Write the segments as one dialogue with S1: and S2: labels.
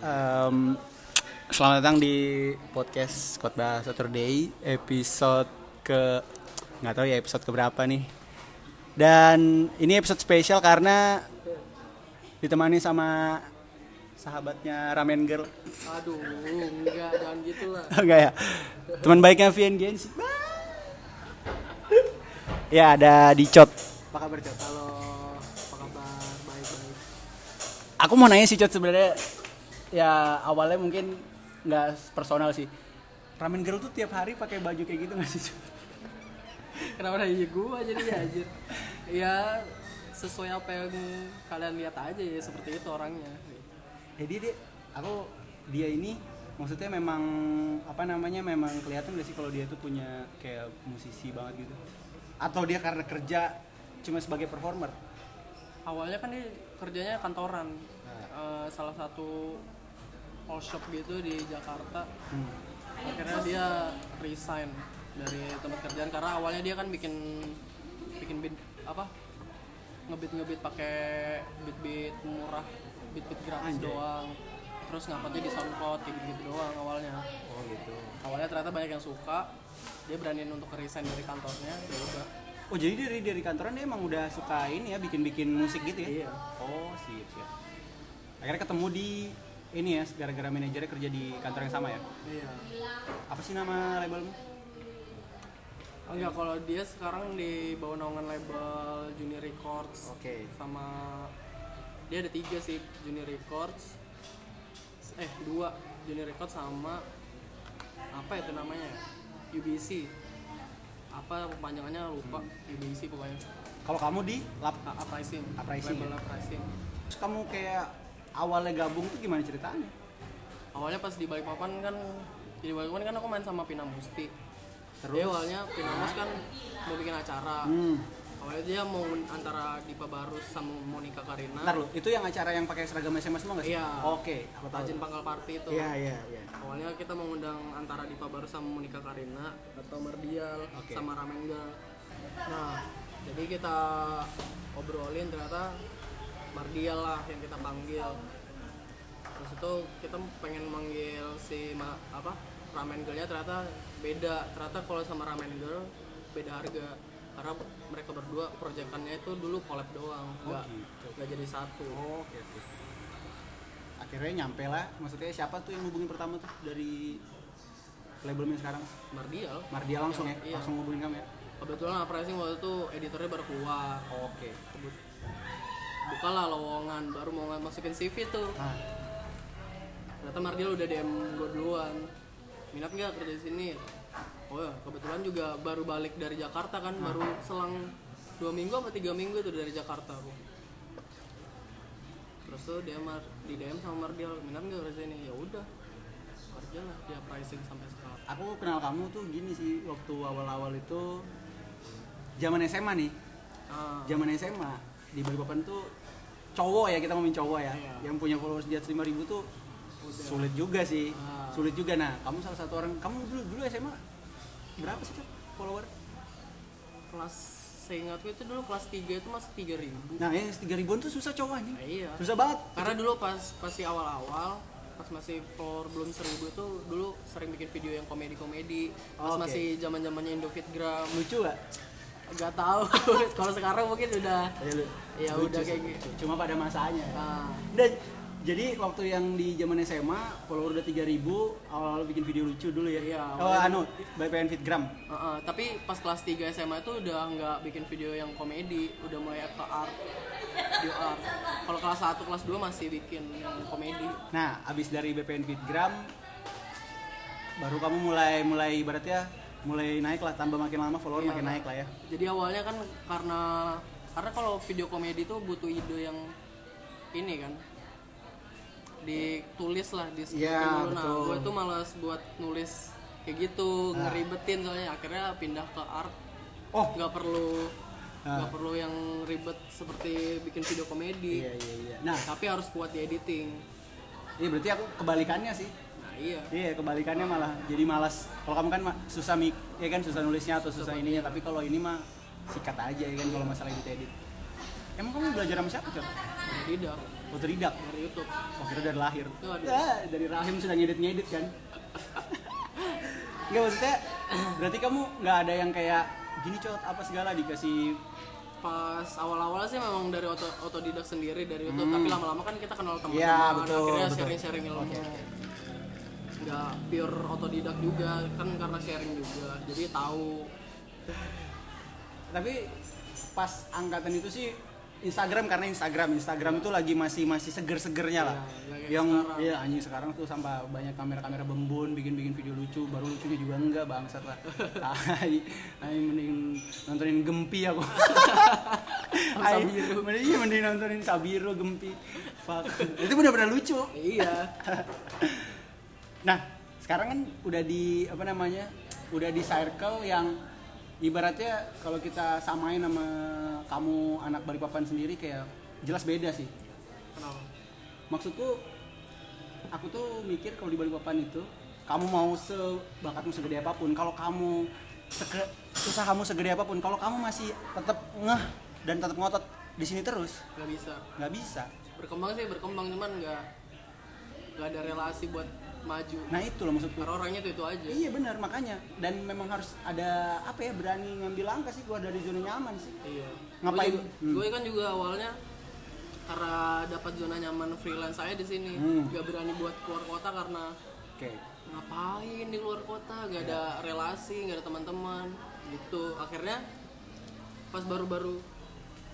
S1: Em, selamat datang di podcast Khotbah Saturday episode ke nggak tahu ya episode keberapa nih. Dan ini episode spesial karena ditemani sama sahabatnya Ramen Girl.
S2: Aduh, enggak, jangan gitu lah.
S1: Enggak ya. Teman baiknya Vian Gens. ya ada Dicot.
S2: Apa kabar, Cok? Halo, apa kabar? Baik-baik.
S1: Aku mau nanya sih Cot sebenarnya ya awalnya mungkin nggak personal sih. Ramen Girl tuh tiap hari pakai baju kayak gitu nggak sih? Cot?
S2: Kenapa nanya gua jadi ya, anjir? Ya, sesuai apa yang kalian lihat aja ya, seperti itu orangnya.
S1: Jadi dia, aku dia ini maksudnya memang apa namanya memang kelihatan gak sih kalau dia tuh punya kayak musisi banget gitu. Atau dia karena kerja cuma sebagai performer.
S2: Awalnya kan dia kerjanya kantoran. Eh, salah satu all shop gitu di Jakarta.
S1: Hmm.
S2: Akhirnya dia resign dari tempat kerjaan karena awalnya dia kan bikin bikin beat apa? ngebit-ngebit pakai beat-beat murah, beat-beat gratis
S1: Anjay.
S2: doang. Terus nguploadnya di SoundCloud kayak gitu, doang awalnya.
S1: Oh gitu.
S2: Awalnya ternyata banyak yang suka. Dia beraniin untuk resign dari kantornya, ya udah.
S1: Oh jadi dari dari kantoran dia emang udah suka ini ya bikin-bikin musik gitu ya?
S2: Iya.
S1: Oh siap siap. Akhirnya ketemu di ini ya gara-gara manajernya kerja di kantor yang sama ya.
S2: Iya.
S1: Apa sih nama labelmu?
S2: Enggak, kalau dia sekarang di bawah naungan label Juni Records.
S1: Oke.
S2: sama dia ada tiga sih Junior Records eh dua Junior Records sama apa itu namanya ya? UBC apa kepanjangannya lupa UBC pokoknya
S1: Kalau kamu di lap
S2: A- uprising
S1: Uprising,
S2: label
S1: ya?
S2: uprising
S1: Terus kamu kayak awalnya gabung tuh gimana ceritanya?
S2: awalnya pas di Balikpapan kan di Balikpapan kan aku main sama Pina Musti
S1: Terus?
S2: dia awalnya Pina Mus kan mau bikin acara
S1: Hmm.
S2: awalnya dia mau antara Dipa Barus sama Monica Karina
S1: Ntar lu, itu yang acara yang pakai seragam SMA semua nggak sih? Ah,
S2: Iya.
S1: Oke, aku tahu.
S2: Tajin Pangkal Party itu
S1: oh, Iya, iya, iya.
S2: Awalnya kita mengundang antara Dipa Baru sama Monica Karina atau Mardial
S1: Oke.
S2: sama Ramengga. Nah, jadi kita obrolin ternyata Mardial lah yang kita panggil. Terus itu kita pengen manggil si ma- apa Ramen Girl-nya ternyata beda. Ternyata kalau sama Ramen Girl beda harga karena mereka berdua proyekannya itu dulu collab doang, nggak
S1: gitu.
S2: nggak jadi satu.
S1: Oh, Oke, oke. Akhirnya nyampe lah. Maksudnya siapa tuh yang ngubungin pertama tuh dari labelnya sekarang?
S2: Mardial
S1: Mardia langsung ya,
S2: Iya.
S1: langsung ngubungin kamu ya.
S2: kebetulan Uprising waktu itu editornya baru keluar.
S1: Oke.
S2: Kebut- bukalah lowongan baru mau nge- masukin CV tuh
S1: Nah,
S2: ternyata Mardial udah DM gue duluan minat nggak kerja di sini oh ya, kebetulan juga baru balik dari Jakarta kan baru selang dua minggu apa tiga minggu itu dari Jakarta aku terus tuh dia mar di DM sama Mardial minat nggak kerja ini ya udah kerja lah dia pricing sampai sekarang
S1: aku kenal kamu tuh gini sih waktu awal-awal itu zaman SMA nih.
S2: ah,
S1: Zaman SMA di Balikpapan tuh cowok ya kita ngomongin cowok ya,
S2: Iya.
S1: yang punya followers di atas 5000 tuh
S2: Udah.
S1: sulit juga sih.
S2: Ah.
S1: Sulit juga nah, kamu salah satu orang. Kamu dulu dulu SMA berapa sih Cak, follower?
S2: kelas seingatku itu dulu kelas 3 itu masih tiga ribu
S1: Nah, yang 3000-an tuh susah cowok anjing.
S2: nah, iya
S1: Susah banget.
S2: Karena dulu pas pasti awal-awal pas masih floor belum seribu itu dulu sering bikin video yang komedi-komedi pas
S1: Oke.
S2: masih zaman zamannya Indofitgram
S1: Lucu gak?
S2: nggak tahu kalau sekarang mungkin udah
S1: Ya, lu-
S2: ya
S1: lucu
S2: udah
S1: sih,
S2: kayak
S1: lucu.
S2: gitu
S1: Cuma pada masanya. ya.
S2: nah,
S1: Dan jadi waktu yang di zaman SMA follower udah 3000, awal-awal bikin video lucu dulu ya.
S2: Iya,
S1: Oh,
S2: awalnya-
S1: anu, BPN Fitgram.
S2: uh-uh. tapi pas kelas 3 SMA itu udah nggak bikin video yang komedi udah mulai ke art video art kalau kelas 1 kelas 2 masih bikin yang komedi
S1: Nah, abis dari BPN Fitgram baru kamu mulai mulai ibaratnya mulai naik lah tambah makin lama follower
S2: Iya.
S1: makin naik lah ya.
S2: jadi awalnya kan karena karena kalau video komedi tuh butuh ide yang ini kan ditulis lah di skripin
S1: Iya,
S2: dulu. nah
S1: betul.
S2: gue tuh malas buat nulis kayak gitu
S1: Ah.
S2: ngeribetin soalnya akhirnya pindah ke art
S1: Oh,
S2: nggak perlu
S1: Ah.
S2: nggak perlu yang ribet seperti bikin video komedi
S1: iya iya iya. Nah,
S2: tapi harus kuat di editing
S1: ini berarti aku kebalikannya sih.
S2: nah iya
S1: Iya, kebalikannya malah jadi malas. Kalau kamu kan ma- susah mik, ya kan susah nulisnya atau susah ininya, tapi kalau ini mah iya sikat aja ya kan kalau masalah edit edit. Emang kamu belajar sama siapa, Cok?
S2: Nah, tidak
S1: Otodidak.
S2: dari YouTube
S1: Oh, kira dari lahir.
S2: Tuh, aduh.
S1: Ah, dari rahim sudah ngedit-ngedit kan. Enggak maksudnya berarti kamu nggak ada yang kayak gini cot apa segala dikasih
S2: pas awal-awal sih memang dari auto otodidak sendiri dari YouTube tapi lama-lama kan kita kenal teman-teman
S1: Hmm. Iya, betul,
S2: akhirnya
S1: betul. Iya.
S2: sharing-sharing ilmu
S1: Oke, oke.
S2: nggak pure otodidak juga kan karena sharing juga jadi tahu
S1: tapi pas angkatan itu sih Instagram karena Instagram Instagram itu lagi masih masih seger-segernya lah
S2: Iya, kayak
S1: yang
S2: sekarang.
S1: iya anjing sekarang tuh sampah banyak kamera-kamera bembun bikin-bikin video lucu baru lucunya juga enggak bangsat lah tai tai mending nontonin gempi aku Tai,
S2: Sabiru.
S1: mending iya, mending nontonin Sabiru gempi fuck itu benar-benar lucu
S2: iya
S1: nah sekarang kan udah di apa namanya udah di circle yang ibaratnya kalau kita samain sama kamu anak balikpapan sendiri kayak jelas beda sih
S2: kenapa
S1: maksudku aku tuh mikir kalau di balikpapan itu kamu mau sebakatmu segede apapun kalau kamu seke, susah kamu segede apapun kalau kamu masih tetap ngeh dan tetap ngotot di sini terus
S2: nggak bisa
S1: nggak bisa
S2: berkembang sih berkembang cuman nggak nggak ada relasi buat maju
S1: nah itu loh maksudku
S2: karena orangnya itu itu aja
S1: Iya benar makanya dan memang harus ada apa ya berani ngambil langkah sih keluar dari zona nyaman sih.
S2: Iya.
S1: Ngapain?
S2: Gue,
S1: Hmm.
S2: gue kan juga awalnya karena dapat zona nyaman freelance saya di sini,
S1: Hmm.
S2: gak berani buat keluar kota karena
S1: Oke.
S2: ngapain di luar kota, gak ada relasi, gak ada teman-teman, gitu. Akhirnya pas baru-baru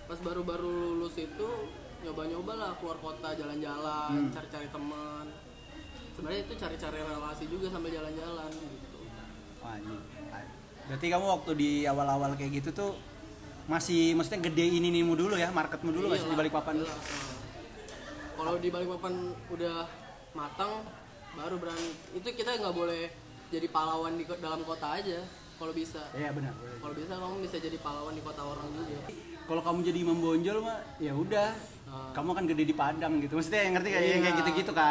S2: pas baru-baru lulus itu nyoba-nyoba lah keluar kota jalan-jalan, cari-cari teman. Sebenarnya itu cari-cari relasi juga sambil jalan-jalan gitu.
S1: Wah, ini. Berarti kamu waktu di awal-awal kayak gitu tuh masih maksudnya gedein ini mu dulu ya marketmu dulu masih
S2: Iyalah,
S1: di balik papan.
S2: iyalah. Kalau di balik papan udah matang, baru berani. Itu kita nggak boleh jadi pahlawan di ko- dalam kota aja. Kalau bisa,
S1: Iya benar. benar.
S2: kalau bisa kamu bisa jadi pahlawan di kota orang juga.
S1: Kalau kamu jadi membonjol mah ya udah
S2: Nah,
S1: kamu akan gede di Padang gitu. Maksudnya yang ngerti kayak
S2: Iya.
S1: kayak gitu-gitu kan.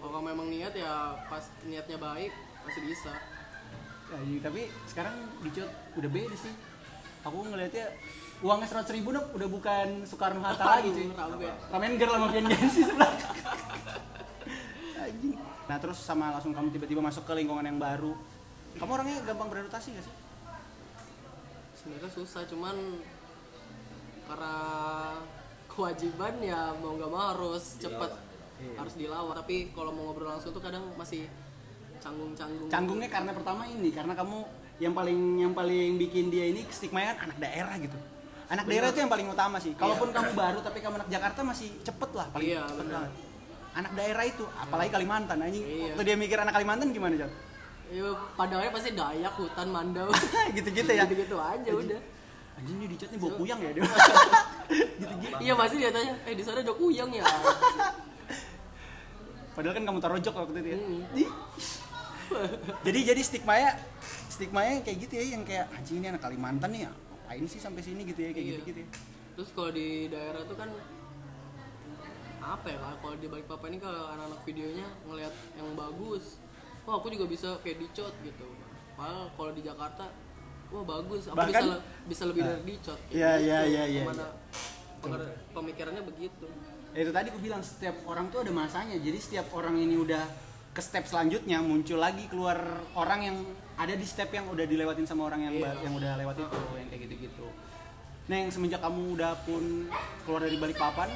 S2: kalau kamu memang niat ya pas niatnya baik masih bisa.
S1: Ya, iya, tapi sekarang dicot udah beda sih. Aku ngelihatnya uangnya seratus ribu Nop, udah bukan Soekarno Hatta lagi
S2: Aduh,
S1: cuy.
S2: rame.
S1: Ramen girl sama Vian Gensi sebelah. Anjing. Nah terus sama langsung kamu tiba-tiba masuk ke lingkungan yang baru. Kamu orangnya gampang beradaptasi gak sih?
S2: Sebenarnya susah, cuman karena kewajiban ya mau nggak mau harus cepet harus dilawan tapi kalau mau ngobrol langsung tuh kadang masih canggung-canggung
S1: Canggungnya karena pertama ini, karena kamu yang paling yang paling bikin dia ini stigma kan anak daerah gitu. Anak daerah itu yang paling utama sih. Kalaupun kamu baru tapi kamu anak Jakarta masih cepet lah paling
S2: Iya,
S1: cepet
S2: benar.
S1: banget. Anak daerah itu, apalagi Kalimantan anjing.
S2: Iya.
S1: Waktu dia mikir anak Kalimantan gimana, Jot?
S2: Iya, padahalnya pasti Dayak, hutan, mandau.
S1: Gitu-gitu ya.
S2: Gitu-gitu aja udah.
S1: Anjing dia dicat nih bawa kuyang ya dia. Gitu-gitu.
S2: Iya pasti dia tanya, eh di sana ada kuyang ya?
S1: Padahal kan kamu tarojok waktu itu ya.
S2: Mm.
S1: Di- jadi jadi stigmanya stigmanya kayak gitu ya yang kayak anjing ini anak Kalimantan nih ya. Ngapain sih sampai sini gitu ya kayak
S2: Iya.
S1: gitu-gitu ya.
S2: Terus kalau di daerah tuh kan apa ya Kak? kalau di Balikpapan ini kalau anak-anak videonya ngelihat yang bagus, wah aku juga bisa kayak dicot gitu. Padahal kalau di Jakarta, wah bagus, aku
S1: Bahkan- Ah.
S2: bisa le- bisa lebih dari dicot. kayak
S1: Iya,
S2: gitu.
S1: iya, iya, iya,
S2: Kemana
S1: iya.
S2: pengar- pemikirannya begitu.
S1: Ya, itu tadi aku bilang setiap orang tuh ada masanya jadi setiap orang ini udah ke step selanjutnya muncul lagi keluar orang yang ada di step yang udah dilewatin sama orang yang ba-
S2: Iya.
S1: yang udah lewat itu yang kayak gitu-gitu nah yang semenjak kamu udah pun keluar dari balik papan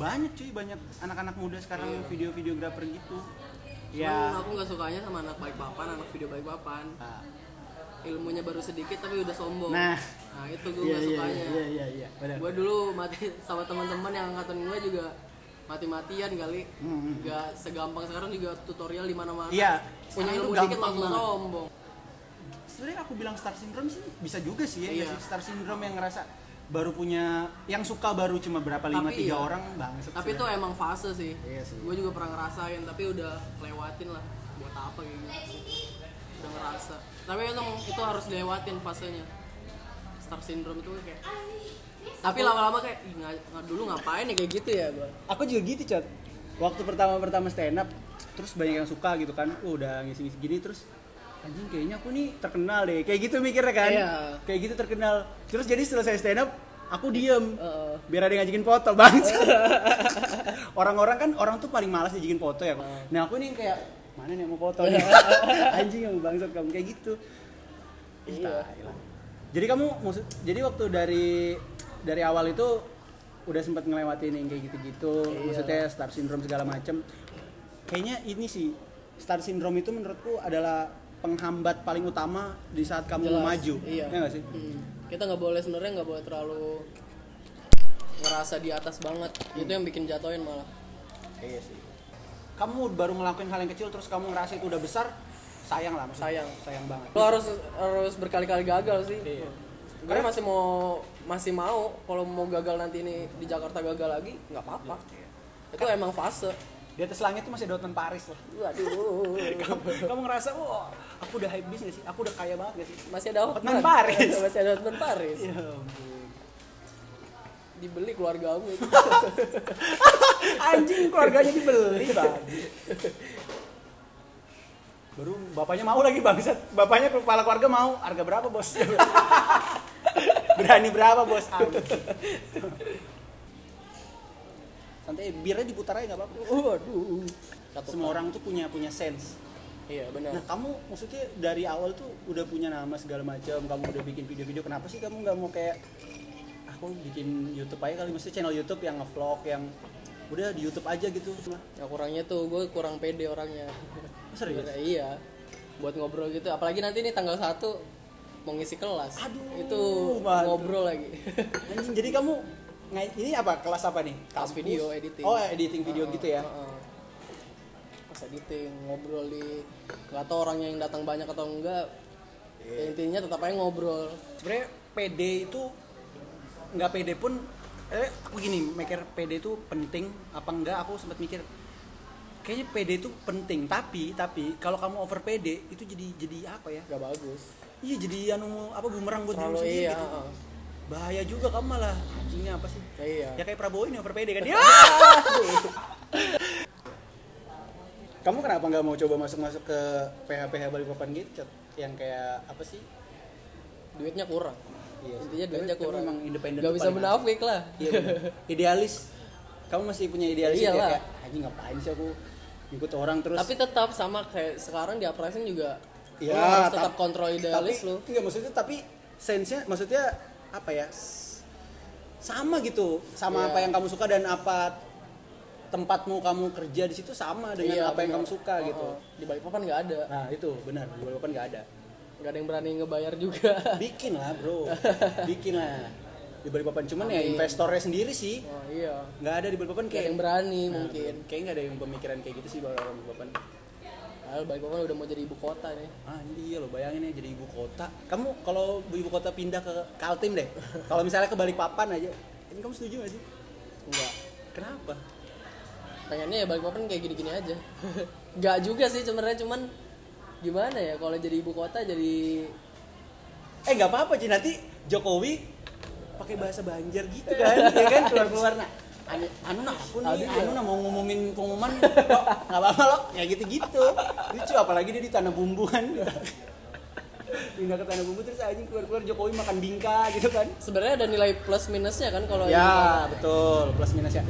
S1: banyak cuy banyak anak-anak muda sekarang
S2: Iya.
S1: video-videografer gitu
S2: Cuman
S1: ya
S2: aku nggak sukanya sama anak Balikpapan, anak video Balikpapan.
S1: Ah,
S2: Ilmunya baru sedikit tapi udah sombong.
S1: nah
S2: Nah itu gue
S1: iya
S2: gak
S1: iya
S2: sukanya
S1: iya iya iya benar.
S2: Gue dulu mati sama teman-teman yang angkatan gue juga mati-matian kali
S1: Hmm, hmm.
S2: Gak segampang sekarang juga tutorial di mana mana
S1: iya sekarang
S2: Punya
S1: itu
S2: ilmu dikit
S1: gampang
S2: langsung
S1: banget
S2: sombong
S1: sebenarnya aku bilang star syndrome sih bisa juga sih ya,
S2: Iya.
S1: nggak sih? star syndrome yang ngerasa baru punya yang suka baru cuma berapa lima
S2: Tapi
S1: tiga
S2: iya.
S1: orang banget
S2: Tapi itu emang fase sih
S1: Iya sih.
S2: Gue juga pernah ngerasain tapi udah lewatin lah Buat apa kayak gitu Udah ngerasa Tapi itu, itu harus dilewatin fasenya Star Syndrome itu kayak tapi lama-lama kayak "Ih, nggak- nggak- dulu ngapain ya kayak gitu ya gue
S1: aku juga gitu chat waktu pertama pertama stand up terus banyak yang suka gitu kan Oh, udah ngisi ngisi gini terus anjing kayaknya aku nih terkenal deh kayak gitu mikirnya kan
S2: Iya.
S1: kayak gitu terkenal terus jadi selesai stand up Aku diem
S2: Heeh.
S1: biar ada yang ngajakin foto bang orang-orang kan orang tuh paling malas ngajakin foto ya
S2: Hmm.
S1: nah aku nih kayak mana nih yang mau foto nih anjing yang bangsat kamu kayak gitu Ih,
S2: Iya.
S1: tai lah. jadi kamu maksud jadi waktu dari dari awal itu udah sempat ngelewatin yang kayak gitu-gitu
S2: Iya.
S1: maksudnya star syndrome segala macem kayaknya ini sih star syndrome itu menurutku adalah penghambat paling utama di saat kamu
S2: Jelas,
S1: maju
S2: iya.
S1: ya nggak sih
S2: Hmm. kita nggak boleh sebenarnya nggak boleh terlalu ngerasa di atas banget
S1: Hmm.
S2: itu yang bikin jatoin malah
S1: Iya sih. Kamu baru ngelakuin hal yang kecil terus kamu ngerasa itu udah besar, sayang lah maksudnya.
S2: sayang
S1: Sayang banget.
S2: lo harus harus berkali-kali gagal sih
S1: Iya.
S2: gue masih mau masih mau kalau mau gagal nanti ini di Jakarta gagal lagi nggak apa-apa itu
S1: Kan-
S2: emang fase
S1: Di atas langit tuh masih Dortmund Paris lah.
S2: waduh
S1: Kamu, kamu ngerasa, wah, aku udah hype bisnis sih, aku udah kaya banget gak sih?
S2: masih ada Iya,
S1: Hotman Paris.
S2: masih ada Hotman Paris
S1: Ya ampun.
S2: dibeli keluarga aku itu
S1: Anjing keluarganya dibeli bang. Baru bapaknya mau lagi bangsat. Bapaknya kepala keluarga mau. Harga berapa bos? Berani berapa bos? Anjing. Santai, birnya diputar aja nggak apa-apa.
S2: waduh Satu
S1: Semua orang tuh punya punya sense.
S2: iya benar
S1: Nah kamu maksudnya dari awal tuh udah punya nama segala macam, kamu udah bikin video-video. Kenapa sih kamu nggak mau kayak "Ah, aku bikin YouTube aja kali? Maksudnya channel YouTube yang ngevlog yang udah di YouTube aja gitu. Nah,
S2: ya kurangnya tuh gue kurang pede orangnya
S1: serius?
S2: Sebenarnya iya buat ngobrol gitu apalagi nanti ini tanggal 1 mau ngisi kelas
S1: Aduh,
S2: itu
S1: mantap.
S2: ngobrol lagi
S1: Anjing, jadi kamu ngai- ini apa kelas apa nih?
S2: Kelas video editing. Ah.
S1: Oh editing video gitu ya?
S2: Heeh. pas editing ngobrol di nggak tahu orangnya yang datang banyak atau enggak
S1: Iya.
S2: Ya, intinya tetap aja ngobrol
S1: Sebenarnya PD itu nggak PD pun eh aku gini mikir PD itu penting apa enggak aku sempat mikir kayaknya PD itu penting tapi tapi kalau kamu over PD itu jadi jadi apa ya
S2: nggak bagus
S1: Iya jadi anu apa bumerang buat diri
S2: terlalu
S1: sendiri
S2: iya
S1: gitu.
S2: heeh.
S1: Bahaya juga kamu malah anjingnya apa sih?
S2: Ya, iya
S1: Ya kayak Prabowo ini over PD kan. Ya! kamu kenapa nggak mau coba masuk-masuk ke PH-PH Balikpapan gitu Cet? yang kayak apa sih?
S2: duitnya kurang
S1: Iya. sih.
S2: intinya
S1: Tapi-
S2: duitnya
S1: tapi
S2: kurang
S1: Emang independen.
S2: nggak
S1: tuh
S2: bisa
S1: paling
S2: munafik lah
S1: asik. Iya. bener. Idealis. Kamu masih punya idealis ya
S2: Iyalah.
S1: kayak anjing ngapain sih aku ikut orang terus
S2: Iya tapi tetap sama kayak sekarang di uprising juga
S1: Ya,
S2: lu harus tetap
S1: tap-
S2: kontrol idealis
S1: tapi,
S2: lu
S1: Enggak maksudnya tapi sense-nya maksudnya apa ya? s- Sama gitu, sama
S2: Iya.
S1: apa yang kamu suka dan apa tempatmu kamu kerja di situ sama dengan
S2: Iya,
S1: apa yang
S2: benar.
S1: kamu suka
S2: Oh,
S1: gitu.
S2: oh. di Balikpapan nggak ada
S1: Nah, itu benar, di Balikpapan nggak ada.
S2: nggak ada yang berani ngebayar juga
S1: Bikin lah, Bro. Bikin lah. Di Balikpapan cuman ya
S2: Amin.
S1: investornya sendiri sih.
S2: oh, iya
S1: Nggak ada di Balikpapan
S2: nggak ada
S1: kayak
S2: yang berani
S1: Nah,
S2: mungkin
S1: Kayaknya nggak ada yang pemikiran kayak gitu sih orang-orang Balikpapan.
S2: Padahal Balikpapan udah mau jadi ibu kota nih
S1: Ah iya lo bayangin ya jadi ibu kota. Kamu kalau ibu kota pindah ke Kaltim deh. Kalau misalnya ke Balikpapan aja, ini kamu setuju gak sih?
S2: enggak
S1: Kenapa?
S2: pengennya ya Balikpapan kayak gini-gini aja nggak juga sih sebenarnya cuman gimana ya kalau jadi ibu kota jadi
S1: Eh nggak apa-apa sih nanti Jokowi pakai bahasa Banjar gitu kan, ya kan keluar-keluar nah. Anu, anu nah aku nih,
S2: Aduh,
S1: anu nah mau ngomongin pengumuman, lo nggak apa-apa lo, ya gitu-gitu. Lucu apalagi dia di tanah bumbu kan. Pindah ke tanah bumbu terus anjing keluar-keluar Jokowi makan bingka gitu kan.
S2: sebenarnya ada nilai plus minusnya kan kalau
S1: Ya betul plus minusnya.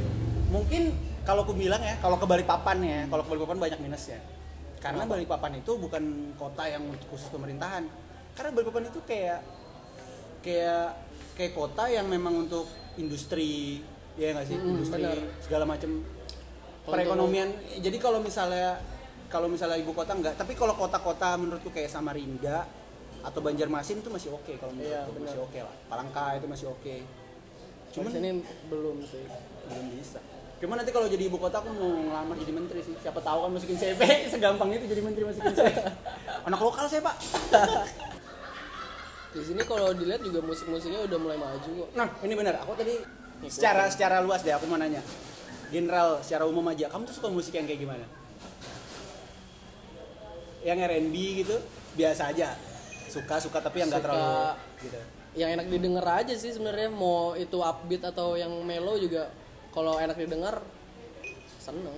S1: Mungkin kalau aku bilang ya kalau ke Balikpapan ya kalau ke Balikpapan banyak minusnya. Karena Balikpapan itu bukan kota yang untuk khusus pemerintahan. Karena Balikpapan itu kayak kayak kayak kota yang memang untuk industri ya nggak sih
S2: Mm-mm,
S1: industri
S2: benar.
S1: segala macam
S2: Kalau
S1: perekonomian. Jadi kalau misalnya kalau misalnya ibu kota enggak, tapi kalau kota-kota menurutku kayak Samarinda atau Banjarmasin itu masih oke kalau
S2: Iya,
S1: menurutku
S2: benar.
S1: masih oke lah. Palangka itu masih oke.
S2: cuman
S1: Cuman
S2: ini belum sih
S1: belum bisa. Cuman nanti kalau jadi ibu kota aku mau ngelamar jadi menteri sih. Siapa tahu kan masukin CV, segampang itu jadi menteri masukin CV. Anak lokal saya, Pak.
S2: di sini kalau dilihat juga musik-musiknya udah mulai maju kok
S1: Nah, ini benar. Aku tadi secara secara luas deh aku mau nanya. General secara umum aja, kamu tuh suka musik yang kayak gimana? Yang R&B gitu, biasa aja. Suka-suka tapi yang enggak
S2: Suka.
S1: terlalu gitu.
S2: yang enak didengar aja sih sebenarnya mau itu upbeat atau yang mellow juga kalau enak didengar seneng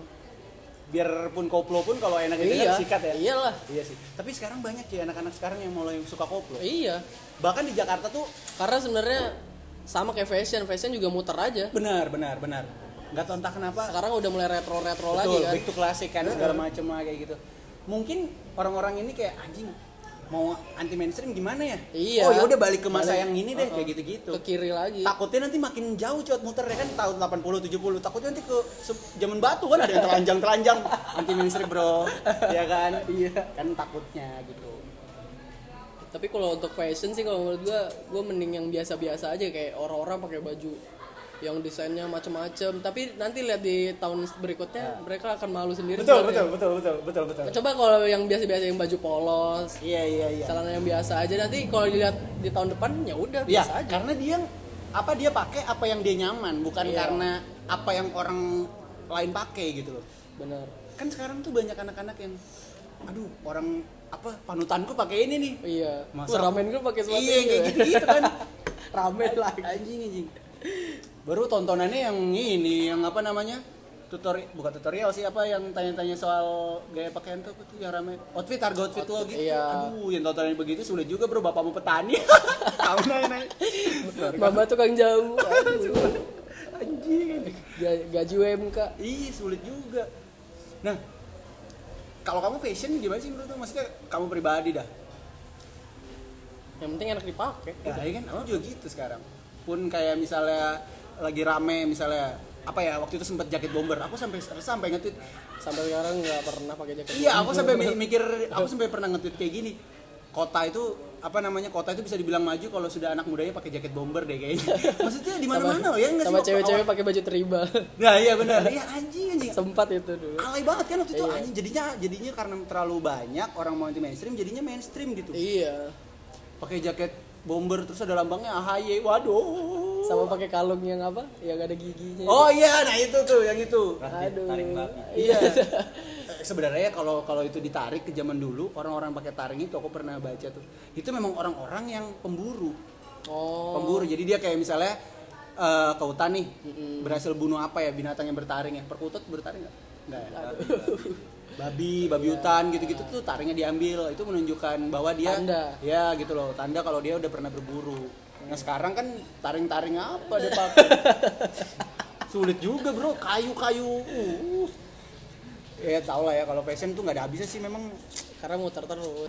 S1: Biarpun koplo pun kalau enak itu
S2: iya
S1: sikat ya.
S2: iyalah
S1: Iya sih. Tapi sekarang banyak ya anak-anak sekarang yang mulai suka koplo.
S2: iya
S1: Bahkan di Jakarta tuh
S2: karena sebenarnya sama kayak fashion fashion juga muter aja
S1: benar benar benar nggak tahu entah kenapa
S2: sekarang udah mulai retro retro lagi
S1: betul
S2: kan Hmm.
S1: back to classic kan segala macam lah kayak gitu mungkin orang-orang ini kayak anjing mau anti mainstream gimana ya
S2: Iya.
S1: oh ya udah balik ke masa
S2: Balik.
S1: yang ini deh
S2: Uh-uh.
S1: kayak gitu-gitu
S2: ke kiri lagi
S1: takutnya nanti makin jauh cuat muter ya kan tahun 80 70 takutnya nanti ke se- zaman batu kan ada yang telanjang-telanjang anti mainstream bro ya kan iya kan takutnya gitu
S2: tapi kalau untuk fashion sih kalau menurut gua gua mending yang biasa-biasa aja kayak orang-orang pakai baju yang desainnya macam-macam tapi nanti lihat di tahun berikutnya mereka akan malu sendiri sebenarnya.
S1: Ya. betul betul betul betul
S2: coba kalau yang biasa-biasa yang baju polos
S1: iya iya iya
S2: celana yang biasa aja nanti kalau dilihat di tahun depan ya udah
S1: Iya,
S2: biasa aja
S1: karena dia apa dia pakai apa yang dia nyaman, bukan
S2: Iya.
S1: karena apa yang orang lain pakai gitu loh.
S2: bener
S1: Kan sekarang tuh banyak anak-anak yang aduh, orang apa panutanku pakai ini nih.
S2: iya
S1: Masa-
S2: Wah, ramen gue pakai sepatu
S1: Iya,
S2: ini,
S1: kayak
S2: ya.
S1: gitu-gitu kan.
S2: ramen lah
S1: Anjing anjing. Baru tontonannya yang ini, yang apa namanya? tutorial bukan tutorial sih apa yang tanya-tanya soal gaya pakaian tuh tuh yang rame outfit harga outfit lo gitu
S2: Iya.
S1: aduh yang tontonan begitu sulit juga bro bapakmu petani tahu naik naik
S2: mama tukang jamu aduh.
S1: anjing
S2: Ga- gaji UMK
S1: Ih, Iya, sulit juga. Nah, kalau kamu fashion gimana sih menurut kamu? Maksudnya kamu pribadi dah.
S2: yang penting enak dipakai
S1: Ya, iya kan, kamu juga gitu sekarang. Pun kayak misalnya lagi rame misalnya apa ya waktu itu sempet jaket bomber aku sampai sampai nge-tweet
S2: sampai sekarang nggak pernah pakai jaket
S1: iya aku sampai mi- mikir aku
S2: Iya.
S1: sampai pernah nge-tweet kayak gini kota itu apa namanya kota itu bisa dibilang maju kalau sudah anak mudanya pakai jaket bomber deh kayaknya maksudnya di mana mana ya nggak sih
S2: sama
S1: waktu
S2: cewek-cewek pakai baju tribal
S1: awal- nah iya benar iya anjing anjing
S2: sempat itu dulu
S1: alay banget kan waktu itu
S2: Iya.
S1: anjing jadinya jadinya karena terlalu banyak orang mau anti mainstream jadinya mainstream gitu
S2: iya
S1: pakai jaket bomber terus ada lambangnya AHY waduh
S2: sama pakai kalung yang apa yang ada giginya
S1: oh iya nah itu tuh yang itu
S2: aduh
S1: iya Eh, sebenarnya kalau kalau itu ditarik ke zaman dulu orang-orang pakai taring itu aku pernah baca tuh itu memang orang-orang yang pemburu
S2: oh
S1: pemburu jadi dia kayak misalnya eh, ke hutan nih berhasil bunuh apa ya binatang yang bertaring ya perkutut bertaring nggak nggak ya? babi babi hutan gitu-gitu tuh taringnya diambil itu menunjukkan bahwa dia
S2: Tanda.
S1: ya gitu loh tanda kalau dia udah pernah berburu nah sekarang kan taring-taring apa dia pakai sulit juga bro kayu-kayu uh. ya tau lah ya kalau fashion tuh nggak ada habisnya sih memang
S2: karena muter terus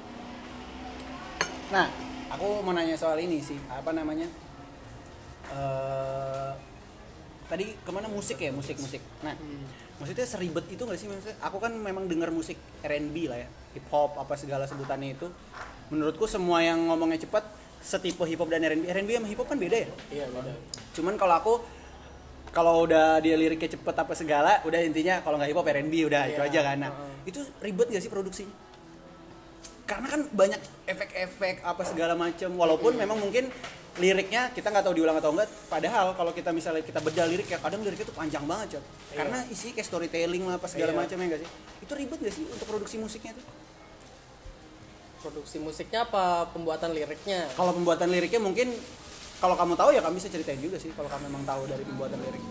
S1: Nah, aku mau nanya soal ini sih, apa namanya? eh tadi kemana musik ya, musik musik. Nah, maksudnya seribet itu nggak sih? Maksudnya, aku kan memang dengar musik R&B lah ya, hip hop apa segala sebutannya itu. Menurutku semua yang ngomongnya cepat setipe hip hop dan R&B. R&B sama hip hop kan beda ya.
S2: iya beda
S1: Cuman kalau aku kalau udah dia liriknya cepet apa segala, udah intinya kalau nggak hip hop R&B udah itu
S2: Iya,
S1: aja kan. Nah,
S2: heeh.
S1: itu ribet nggak sih produksinya? Karena kan banyak efek-efek apa segala macam.
S2: Iya.
S1: Walaupun memang mungkin liriknya kita nggak tahu diulang atau enggak. Padahal kalau kita misalnya kita bedah lirik ya kadang liriknya tuh panjang banget Cot. Karena isinya kayak storytelling lah apa segala
S2: Iya.
S1: macam ya nggak sih? Itu ribet nggak sih untuk produksi musiknya tuh?
S2: produksi musiknya apa pembuatan liriknya
S1: Kalau pembuatan liriknya mungkin kalau kamu tahu ya kami bisa ceritain juga sih kalau kamu memang tahu dari pembuatan lirik.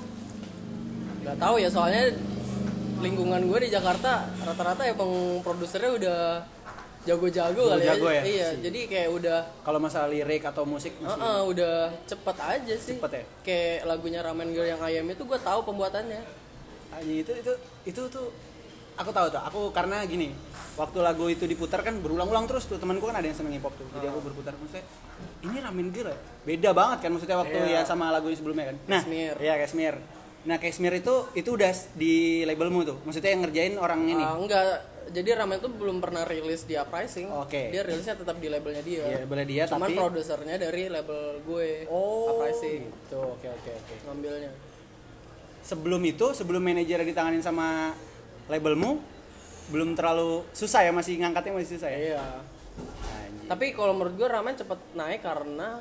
S2: nggak tahu ya soalnya lingkungan gue di Jakarta rata-rata emang produsernya udah jago-jago kali
S1: Jago-jago ya?
S2: iya jadi kayak udah
S1: Kalau masalah lirik atau musik masih
S2: Heeh, udah cepet aja sih
S1: Cepet ya?
S2: kayak lagunya ramen girl yang ayam itu gue tahu pembuatannya
S1: Anjing, itu itu itu tuh aku tahu tuh. Aku karena gini, waktu lagu itu diputar kan berulang-ulang terus tuh. Temanku kan ada yang seneng hip hop tuh. Jadi aku berputar maksudnya ini ramen girl ya? Beda banget kan maksudnya waktu ya
S2: Iya.
S1: sama lagu yang sebelumnya kan.
S2: Kashmir.
S1: Iya, Kashmir. Nah, Kashmir itu itu udah s- di labelmu tuh. Maksudnya yang ngerjain orang ini.
S2: Ah, enggak jadi ramen tuh belum pernah rilis di uprising
S1: Oke.
S2: dia rilisnya tetap di labelnya dia
S1: Iya, labelnya dia,
S2: cuman oh.
S1: tapi-
S2: produsernya dari label gue uprising
S1: gitu. Oke, oke, oke.
S2: ngambilnya
S1: Sebelum itu, sebelum manajer ditanganin sama labelmu, belum terlalu susah ya masih ngangkatnya masih susah ya.
S2: iya
S1: Anjing.
S2: tapi kalau menurut gue ramen cepet naik karena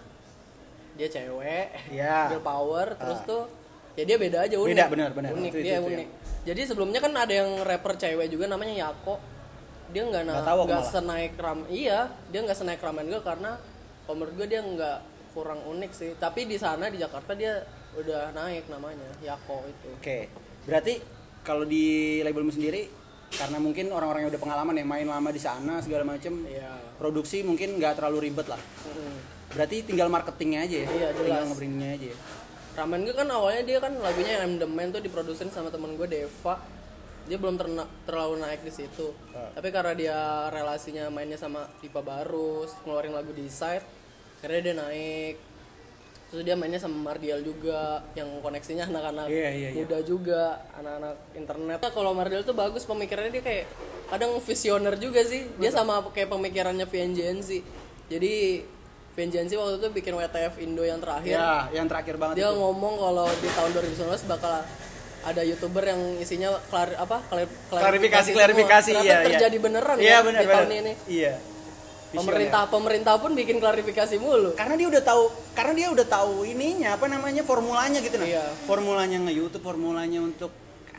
S2: dia cewek
S1: Iya.
S2: girl power terus tuh ya dia beda aja unik
S1: Beda, benar, benar.
S2: unik
S1: Itu- ya. itu-
S2: dia
S1: itu
S2: unik jadi sebelumnya kan ada yang rapper cewek juga namanya Yako dia nggak na-
S1: Nggak tahu aku
S2: nggak
S1: malah.
S2: senaik ram iya dia nggak senaik ramen gue karena kalau menurut gue dia nggak kurang unik sih tapi di sana di Jakarta dia udah naik namanya Yako itu
S1: Oke, berarti kalau di labelmu sendiri, karena mungkin orang-orang yang udah pengalaman ya main lama di sana segala macem,
S2: iya
S1: produksi mungkin nggak terlalu ribet lah.
S2: Mm.
S1: Berarti tinggal marketingnya aja ya?
S2: Iya,
S1: Tinggal
S2: jelas.
S1: nge-brandingnya aja ya?
S2: Ramen gue kan awalnya dia kan lagunya yang The Man tuh diproduserin sama temen gue Deva. Dia belum terna- terlalu naik di situ.
S1: Ah.
S2: Tapi karena dia relasinya mainnya sama Dipa Barus, ngeluarin lagu Decide, akhirnya dia naik. Terus dia mainnya sama Mardial juga yang koneksinya anak-anak
S1: Iya, iya, iya.
S2: muda juga, anak-anak internet. Nah, kalau Mardial tuh bagus pemikirannya dia kayak kadang visioner juga sih. Dia sama kayak pemikirannya Vengeance. Jadi Vengeance waktu itu bikin WTF Indo yang terakhir
S1: Ya, yang terakhir banget
S2: Iya. dia
S1: itu.
S2: ngomong kalau di tahun 2019 bakal ada youtuber yang isinya klar, apa klar-
S1: Klarifikasi,
S2: semua.
S1: klarifikasi.
S2: Ternyata
S1: Iya, iya.
S2: terjadi beneran
S1: Iya,
S2: kan
S1: benar,
S2: di
S1: benar.
S2: tahun ini
S1: Iya.
S2: pemerintah pemerintah pun bikin klarifikasi mulu
S1: karena dia udah tahu karena dia udah tahu ininya apa namanya formulanya gitu nah
S2: Iya.
S1: formulanya nge YouTube formulanya untuk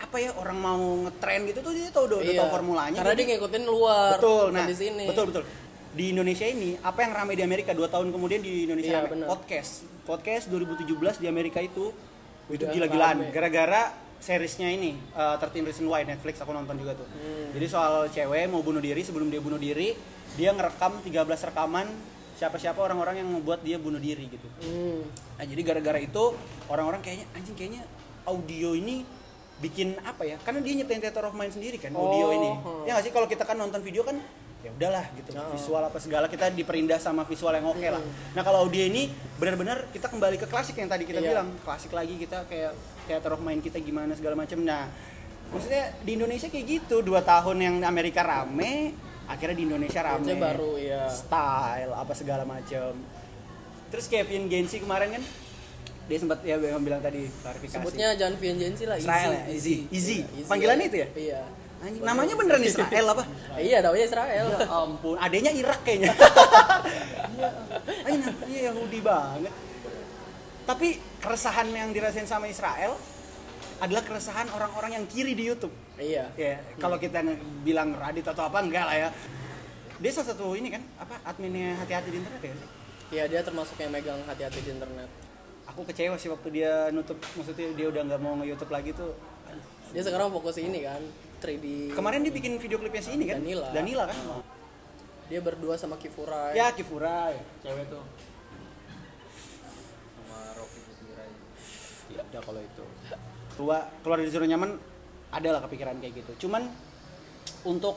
S1: apa ya orang mau ngetren gitu tuh dia tahu udah, udah
S2: Iya.
S1: tahu formulanya gitu.
S2: karena
S1: jadi-
S2: dia ngikutin luar
S1: betul
S2: bukan
S1: nah
S2: di sini
S1: betul betul di Indonesia ini apa yang ramai di Amerika dua tahun kemudian di Indonesia
S2: Iya,
S1: rame?
S2: benar.
S1: podcast podcast 2017 di Amerika itu itu
S2: Udah
S1: gila-gilaan
S2: rame.
S1: gara-gara seriesnya ini uh, 13 Reasons Why Netflix aku nonton juga tuh
S2: Hmm.
S1: jadi soal cewek mau bunuh diri sebelum dia bunuh diri dia ngerekam 13 rekaman siapa-siapa orang-orang yang membuat dia bunuh diri gitu
S2: Hmm.
S1: Nah, jadi gara-gara itu orang-orang kayaknya anjing kayaknya audio ini bikin apa ya? Karena dia nyiptain theater of mind sendiri kan audio
S2: Oh,
S1: ini.
S2: hmm.
S1: Ya nggak sih kalau kita kan nonton video kan ya udahlah gitu.
S2: Oh.
S1: Visual apa segala kita diperindah sama visual yang oke lah.
S2: Hmm.
S1: Nah, kalau audio ini benar-benar kita kembali ke klasik yang tadi kita
S2: Iya.
S1: bilang. Klasik lagi kita kayak theater of mind kita gimana segala macam. Nah, maksudnya di Indonesia kayak gitu. Dua tahun yang Amerika rame, akhirnya di Indonesia rame.
S2: Aja baru ya
S1: style apa segala macam terus Kevin Gensi kemarin kan dia sempat ya yang bilang tadi klarifikasi
S2: sebutnya jangan Vengeance lah
S1: Israel ya? Easy. Easy. Panggilannya itu ya?
S2: iya
S1: Anjing, namanya beneran Israel apa
S2: Eh, iya namanya Israel
S1: ya ampun adanya Irak kayaknya Anjing, namanya Yahudi banget tapi keresahan yang dirasain sama Israel adalah keresahan orang-orang yang kiri di YouTube
S2: iya
S1: ya kalau kita nge- bilang Radit atau apa enggak lah ya dia salah satu ini kan apa adminnya hati-hati di internet ya
S2: iya dia termasuk yang megang hati-hati di internet
S1: aku kecewa sih waktu dia nutup maksudnya dia udah nggak mau nge-youtube lagi tuh
S2: dia sekarang fokus ini kan 3D
S1: kemarin dia bikin video klipnya si ini kan
S2: Danila.
S1: Danila kan
S2: dia berdua sama Kifurai
S1: ya Kifura ya. cewek tuh sama Rocky Kifura tidak kalau itu keluar keluar dari zona nyaman adalah kepikiran kayak gitu cuman untuk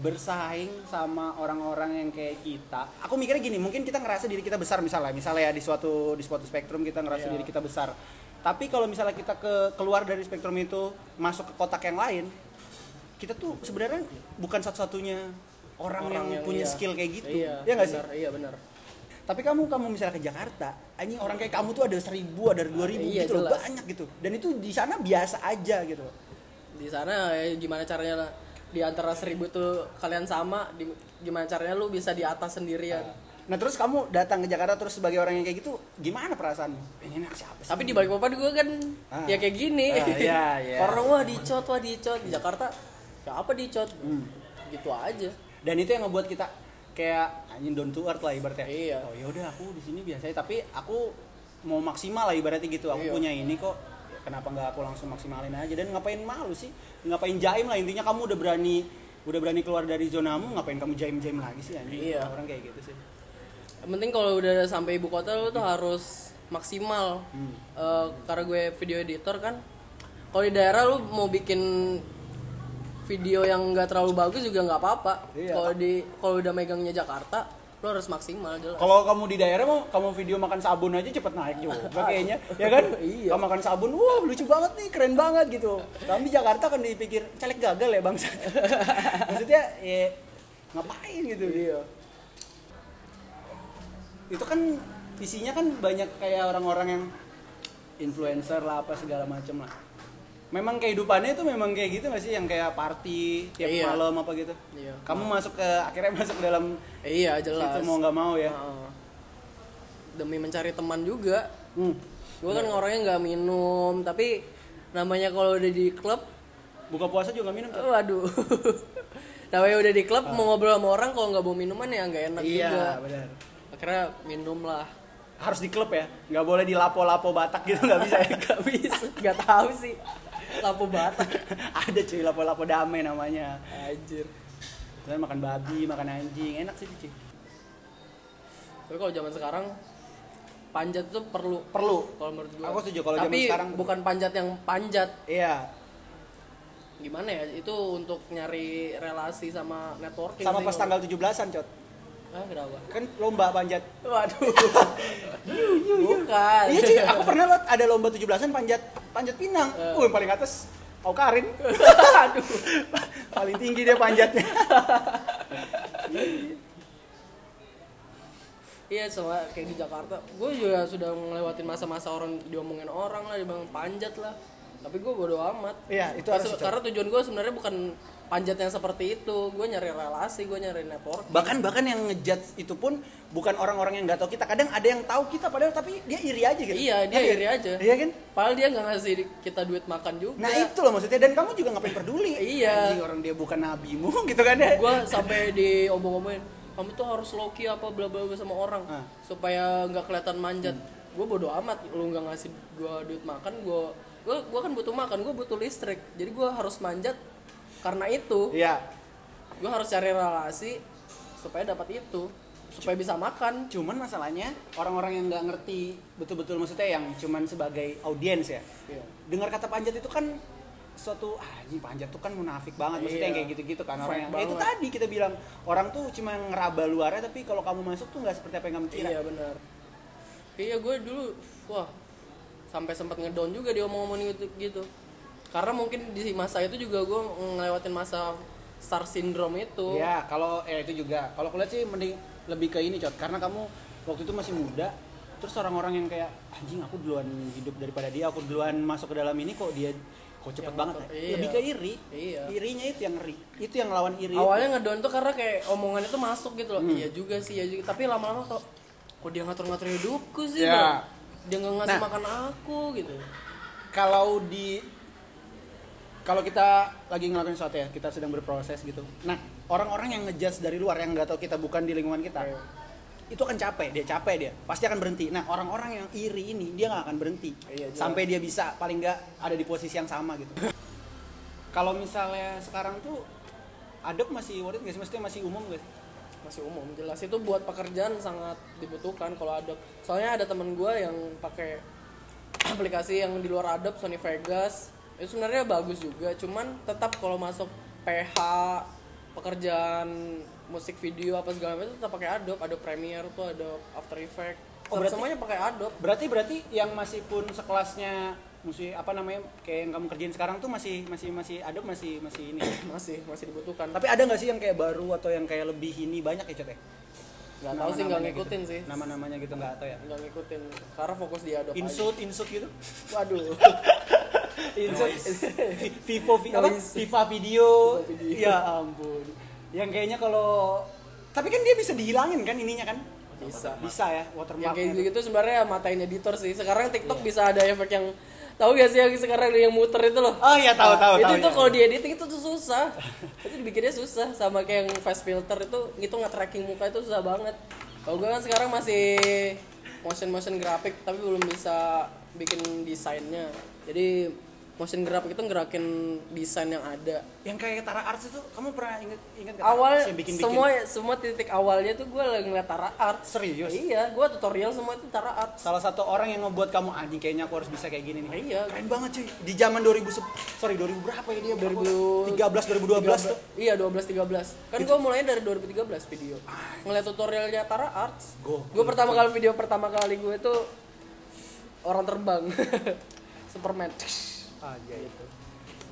S1: bersaing sama orang-orang yang kayak kita. Aku mikirnya gini, mungkin kita ngerasa diri kita besar misalnya, misalnya ya di suatu di suatu spektrum kita ngerasa
S2: Iya.
S1: diri kita besar. Tapi kalau misalnya kita ke keluar dari spektrum itu masuk ke kotak yang lain, kita tuh sebenarnya bukan satu-satunya orang, yang, punya
S2: iya.
S1: skill kayak gitu.
S2: Iya,
S1: ya nggak sih?
S2: benar, Iya benar.
S1: Tapi kamu kamu misalnya ke Jakarta, anjing orang kayak kamu tuh ada seribu, ada dua ribu
S2: Iya,
S1: gitu loh,
S2: jelas.
S1: banyak gitu. Dan itu di sana biasa aja gitu. loh.
S2: Di sana ya, gimana caranya lah, di antara seribu tuh kalian sama, di- gimana caranya lu bisa di atas sendirian.
S1: Nah terus kamu datang ke Jakarta terus sebagai orang yang kayak gitu, gimana perasaanmu? Pengen siapa sih?
S2: Tapi di balik papan gue kan
S1: Ah.
S2: ya kayak gini.
S1: Ah, iya, iya.
S2: Orang wah dicot, wah dicot di Jakarta. Ya apa dicot?
S1: Hmm.
S2: Gitu aja.
S1: Dan itu yang ngebuat kita kayak anjing down to earth lah ibaratnya.
S2: Iya.
S1: Oh ya udah aku di sini biasa aja, tapi aku mau maksimal lah ibaratnya gitu. Aku
S2: Iya.
S1: punya ini kok. Ya, Kenapa nggak aku langsung maksimalin aja dan ngapain malu sih? Ngapain jaim lah intinya kamu udah berani udah berani keluar dari zonamu ngapain kamu jaim-jaim lagi sih anjing?
S2: Iya.
S1: Orang kayak gitu sih.
S2: Yang penting kalau udah sampai ibu kota lu tuh harus maksimal.
S1: Hmm.
S2: Eh, karena gue video editor kan. Kalau di daerah lu mau bikin video yang nggak terlalu bagus juga nggak apa-apa.
S1: Iya.
S2: Kalau di kalau udah megangnya Jakarta, lu harus maksimal jelas.
S1: Kalau kamu di daerah mau kamu video makan sabun aja cepet naik juga kayaknya, ya kan?
S2: Iya.
S1: Kamu makan sabun, wah lucu banget nih, keren banget gitu. Kami di Jakarta kan dipikir caleg gagal ya bangsa. Maksudnya ya ngapain gitu dia.
S2: Iya.
S1: Itu kan isinya kan banyak kayak orang-orang yang influencer lah apa segala macam lah. Memang kehidupannya itu memang kayak gitu gak sih yang kayak party tiap
S2: Iya.
S1: malam apa gitu.
S2: Iya.
S1: Kamu masuk ke akhirnya masuk ke dalam
S2: Eh, iya jelas.
S1: itu mau nggak mau ya.
S2: Heeh. Demi mencari teman juga.
S1: Hmm.
S2: Gue kan orangnya nggak minum, tapi namanya kalau udah di klub,
S1: Buka puasa juga nggak minum. Cat.
S2: waduh. namanya udah di klub mau ngobrol sama orang kalau nggak bawa minuman ya nggak enak
S1: Iya.
S2: juga.
S1: benar.
S2: akhirnya minum lah
S1: Harus di klub ya, nggak boleh di lapo-lapo Batak gitu nggak bisa. ya?
S2: nggak bisa nggak tahu sih lapo batak
S1: Ada cuy lapo-lapo damai namanya.
S2: anjir
S1: Kalian makan babi, makan anjing, enak sih cuy.
S2: tapi kalau zaman sekarang panjat tuh perlu perlu kalau menurut gua
S1: Aku setuju kalau zaman
S2: tapi
S1: sekarang-
S2: bukan panjat yang panjat
S1: Iya,
S2: gimana ya itu untuk nyari relasi sama networking
S1: sama
S2: sih
S1: pas tanggal
S2: kalau-
S1: 17-an, Cot.
S2: ah kenapa
S1: Kan lomba panjat.
S2: waduh bukan
S1: Iya, cuy, aku pernah lot ada lomba 17-an panjat panjat pinang. Uh, yang paling atas Au Karin.
S2: aduh
S1: paling tinggi dia panjatnya.
S2: iya sama kayak di Jakarta gue juga sudah ngelewatin masa-masa orang diomongin orang lah dibilang panjat lah tapi gue bodo amat
S1: Iya, itu harus
S2: Karena-
S1: dicari.
S2: karena tujuan gue sebenarnya bukan panjat yang seperti itu gue nyari relasi gue nyari network
S1: bahkan bahkan yang ngejudge itu pun bukan orang-orang yang nggak tahu kita kadang ada yang tahu kita padahal tapi dia iri aja gitu
S2: Iya, dia
S1: Ngerti?
S2: iri aja.
S1: iya kan
S2: padahal dia nggak ngasih kita duit makan juga
S1: nah itu loh maksudnya dan kamu juga ngapain peduli
S2: Iya.
S1: Anjing, orang dia bukan nabimu gitu kan ya
S2: gue sampai diomong-omongin kamu tuh harus low key apa bla bla bla sama orang
S1: Ah. Hmm.
S2: supaya nggak kelihatan manjat gue bodo amat lu nggak ngasih gue duit makan gue gue kan butuh makan gue butuh listrik jadi gue harus manjat karena itu
S1: iya
S2: gue harus cari relasi supaya dapat itu supaya bisa makan
S1: cuman masalahnya orang-orang yang nggak ngerti betul-betul maksudnya yang cuman sebagai audiens ya
S2: Iya.
S1: dengar kata panjat itu kan suatu ah anjing panjat tuh kan munafik banget maksudnya
S2: Iya.
S1: yang kayak gitu-gitu kan orang
S2: Fake
S1: yang- ya itu
S2: banget.
S1: tadi kita bilang orang tuh cuma ngeraba luarnya tapi kalau kamu masuk tuh nggak seperti apa yang kamu kira
S2: iya benar iya gue dulu wah sampai sempat ngedown juga dia omong-omongin gitu, gitu karena mungkin di masa itu juga gue ngelewatin masa star syndrome itu
S1: Ya, kalau eh itu juga. Kalau kuliah sih mending lebih ke ini, Cot. Karena kamu waktu itu masih muda. Terus orang-orang yang kayak anjing aku duluan hidup daripada dia, aku duluan masuk ke dalam ini kok dia kok cepet
S2: Yang
S1: banget. ya?"
S2: motor, iya.
S1: Lebih ke iri.
S2: Iya.
S1: Irinya itu yang ngeri. Itu yang lawan iri.
S2: awalnya ngedown tuh karena kayak omongan itu masuk gitu loh iya juga sih iya juga tapi lama-lama kok kok dia ngatur-ngatur hidupku sih
S1: Ya.
S2: bro? dia nggak ngasih
S1: Nah.
S2: makan aku gitu
S1: kalau di kalau kita lagi ngelakuin sesuatu ya, kita sedang berproses gitu. Nah, orang-orang yang ngejudge dari luar yang nggak tahu kita bukan di lingkungan kita,
S2: Iya.
S1: itu akan capek, dia capek dia, pasti akan berhenti. Nah, orang-orang yang iri ini dia nggak akan berhenti
S2: Iya, jelas.
S1: sampai dia bisa paling nggak ada di posisi yang sama gitu. kalau misalnya sekarang tuh adep masih worth it nggak sih? Maksudnya masih umum guys?
S2: masih umum jelas itu buat pekerjaan sangat dibutuhkan kalau ada soalnya ada teman gue yang pakai aplikasi yang di luar Adobe Sony Vegas itu sebenarnya bagus juga cuman tetap kalau masuk PH pekerjaan musik video apa segala macam itu tetap pakai Adobe Adobe Premiere tuh Adobe After Effects
S1: Oh,
S2: Tetap
S1: berarti-
S2: semuanya pakai Adobe
S1: Berarti berarti yang masih pun sekelasnya musuh apa namanya kayak yang kamu kerjain sekarang tuh masih masih masih adep masih masih ini.
S2: masih masih dibutuhkan
S1: Tapi ada nggak sih yang kayak baru atau yang kayak lebih ini banyak ya Cet, ya?
S2: nggak tahu sih
S1: Nama-namanya
S2: nggak ngikutin
S1: gitu.
S2: sih
S1: Nama-namanya gitu nggak tahu ya.
S2: nggak ngikutin karena fokus di Adobe aja.
S1: Insult, insult gitu.
S2: waduh
S1: Insult. Vivo, vi- apa?
S2: Noise.
S1: FIFA video.
S2: Viva video.
S1: Ya ampun. Yang kayaknya kalau tapi kan dia bisa dihilangin kan ininya kan?
S2: bisa
S1: Bisa ya
S2: yang kayak
S1: watermarknya. tuh.
S2: gitu sebenarnya matain editor sih sekarang
S1: Iya.
S2: TikTok bisa ada efek yang tahu gak sih yang sekarang yang muter itu loh
S1: Oh iya tahu tahu
S2: Nah, itu
S1: tahu.
S2: itu
S1: ya.
S2: kalau di editing itu tuh susah itu dibikinnya susah sama kayak yang fast filter itu itu nge tracking muka itu susah banget kalau gue kan sekarang masih motion motion grafik tapi belum bisa bikin desainnya jadi motion grafik itu ngerakin desain yang ada
S1: yang kayak Tara Arts itu kamu pernah inget inget nggak?
S2: awal
S1: Yang bikin-bikin.
S2: semua semua titik awalnya tuh gue ngeliat Tara Art
S1: serius.
S2: iya gue tutorial semua itu Tara Art
S1: Salah satu orang yang ngebuat kamu anjing kayaknya aku harus bisa kayak gini nih.
S2: Iya.
S1: Keren banget cuy. Di zaman 2000 se- sorry 2000 berapa ya dia?
S2: 2000
S1: 2013 2012 tuh.
S2: Iya 12 13. Kan gua mulainya dari 2013 video. Ngeliat tutorialnya Tara Arts.
S1: Gokil.
S2: Ah. Gua pertama kali video pertama kali gue itu orang terbang. Superman. Ah,
S1: aja
S2: iya,
S1: itu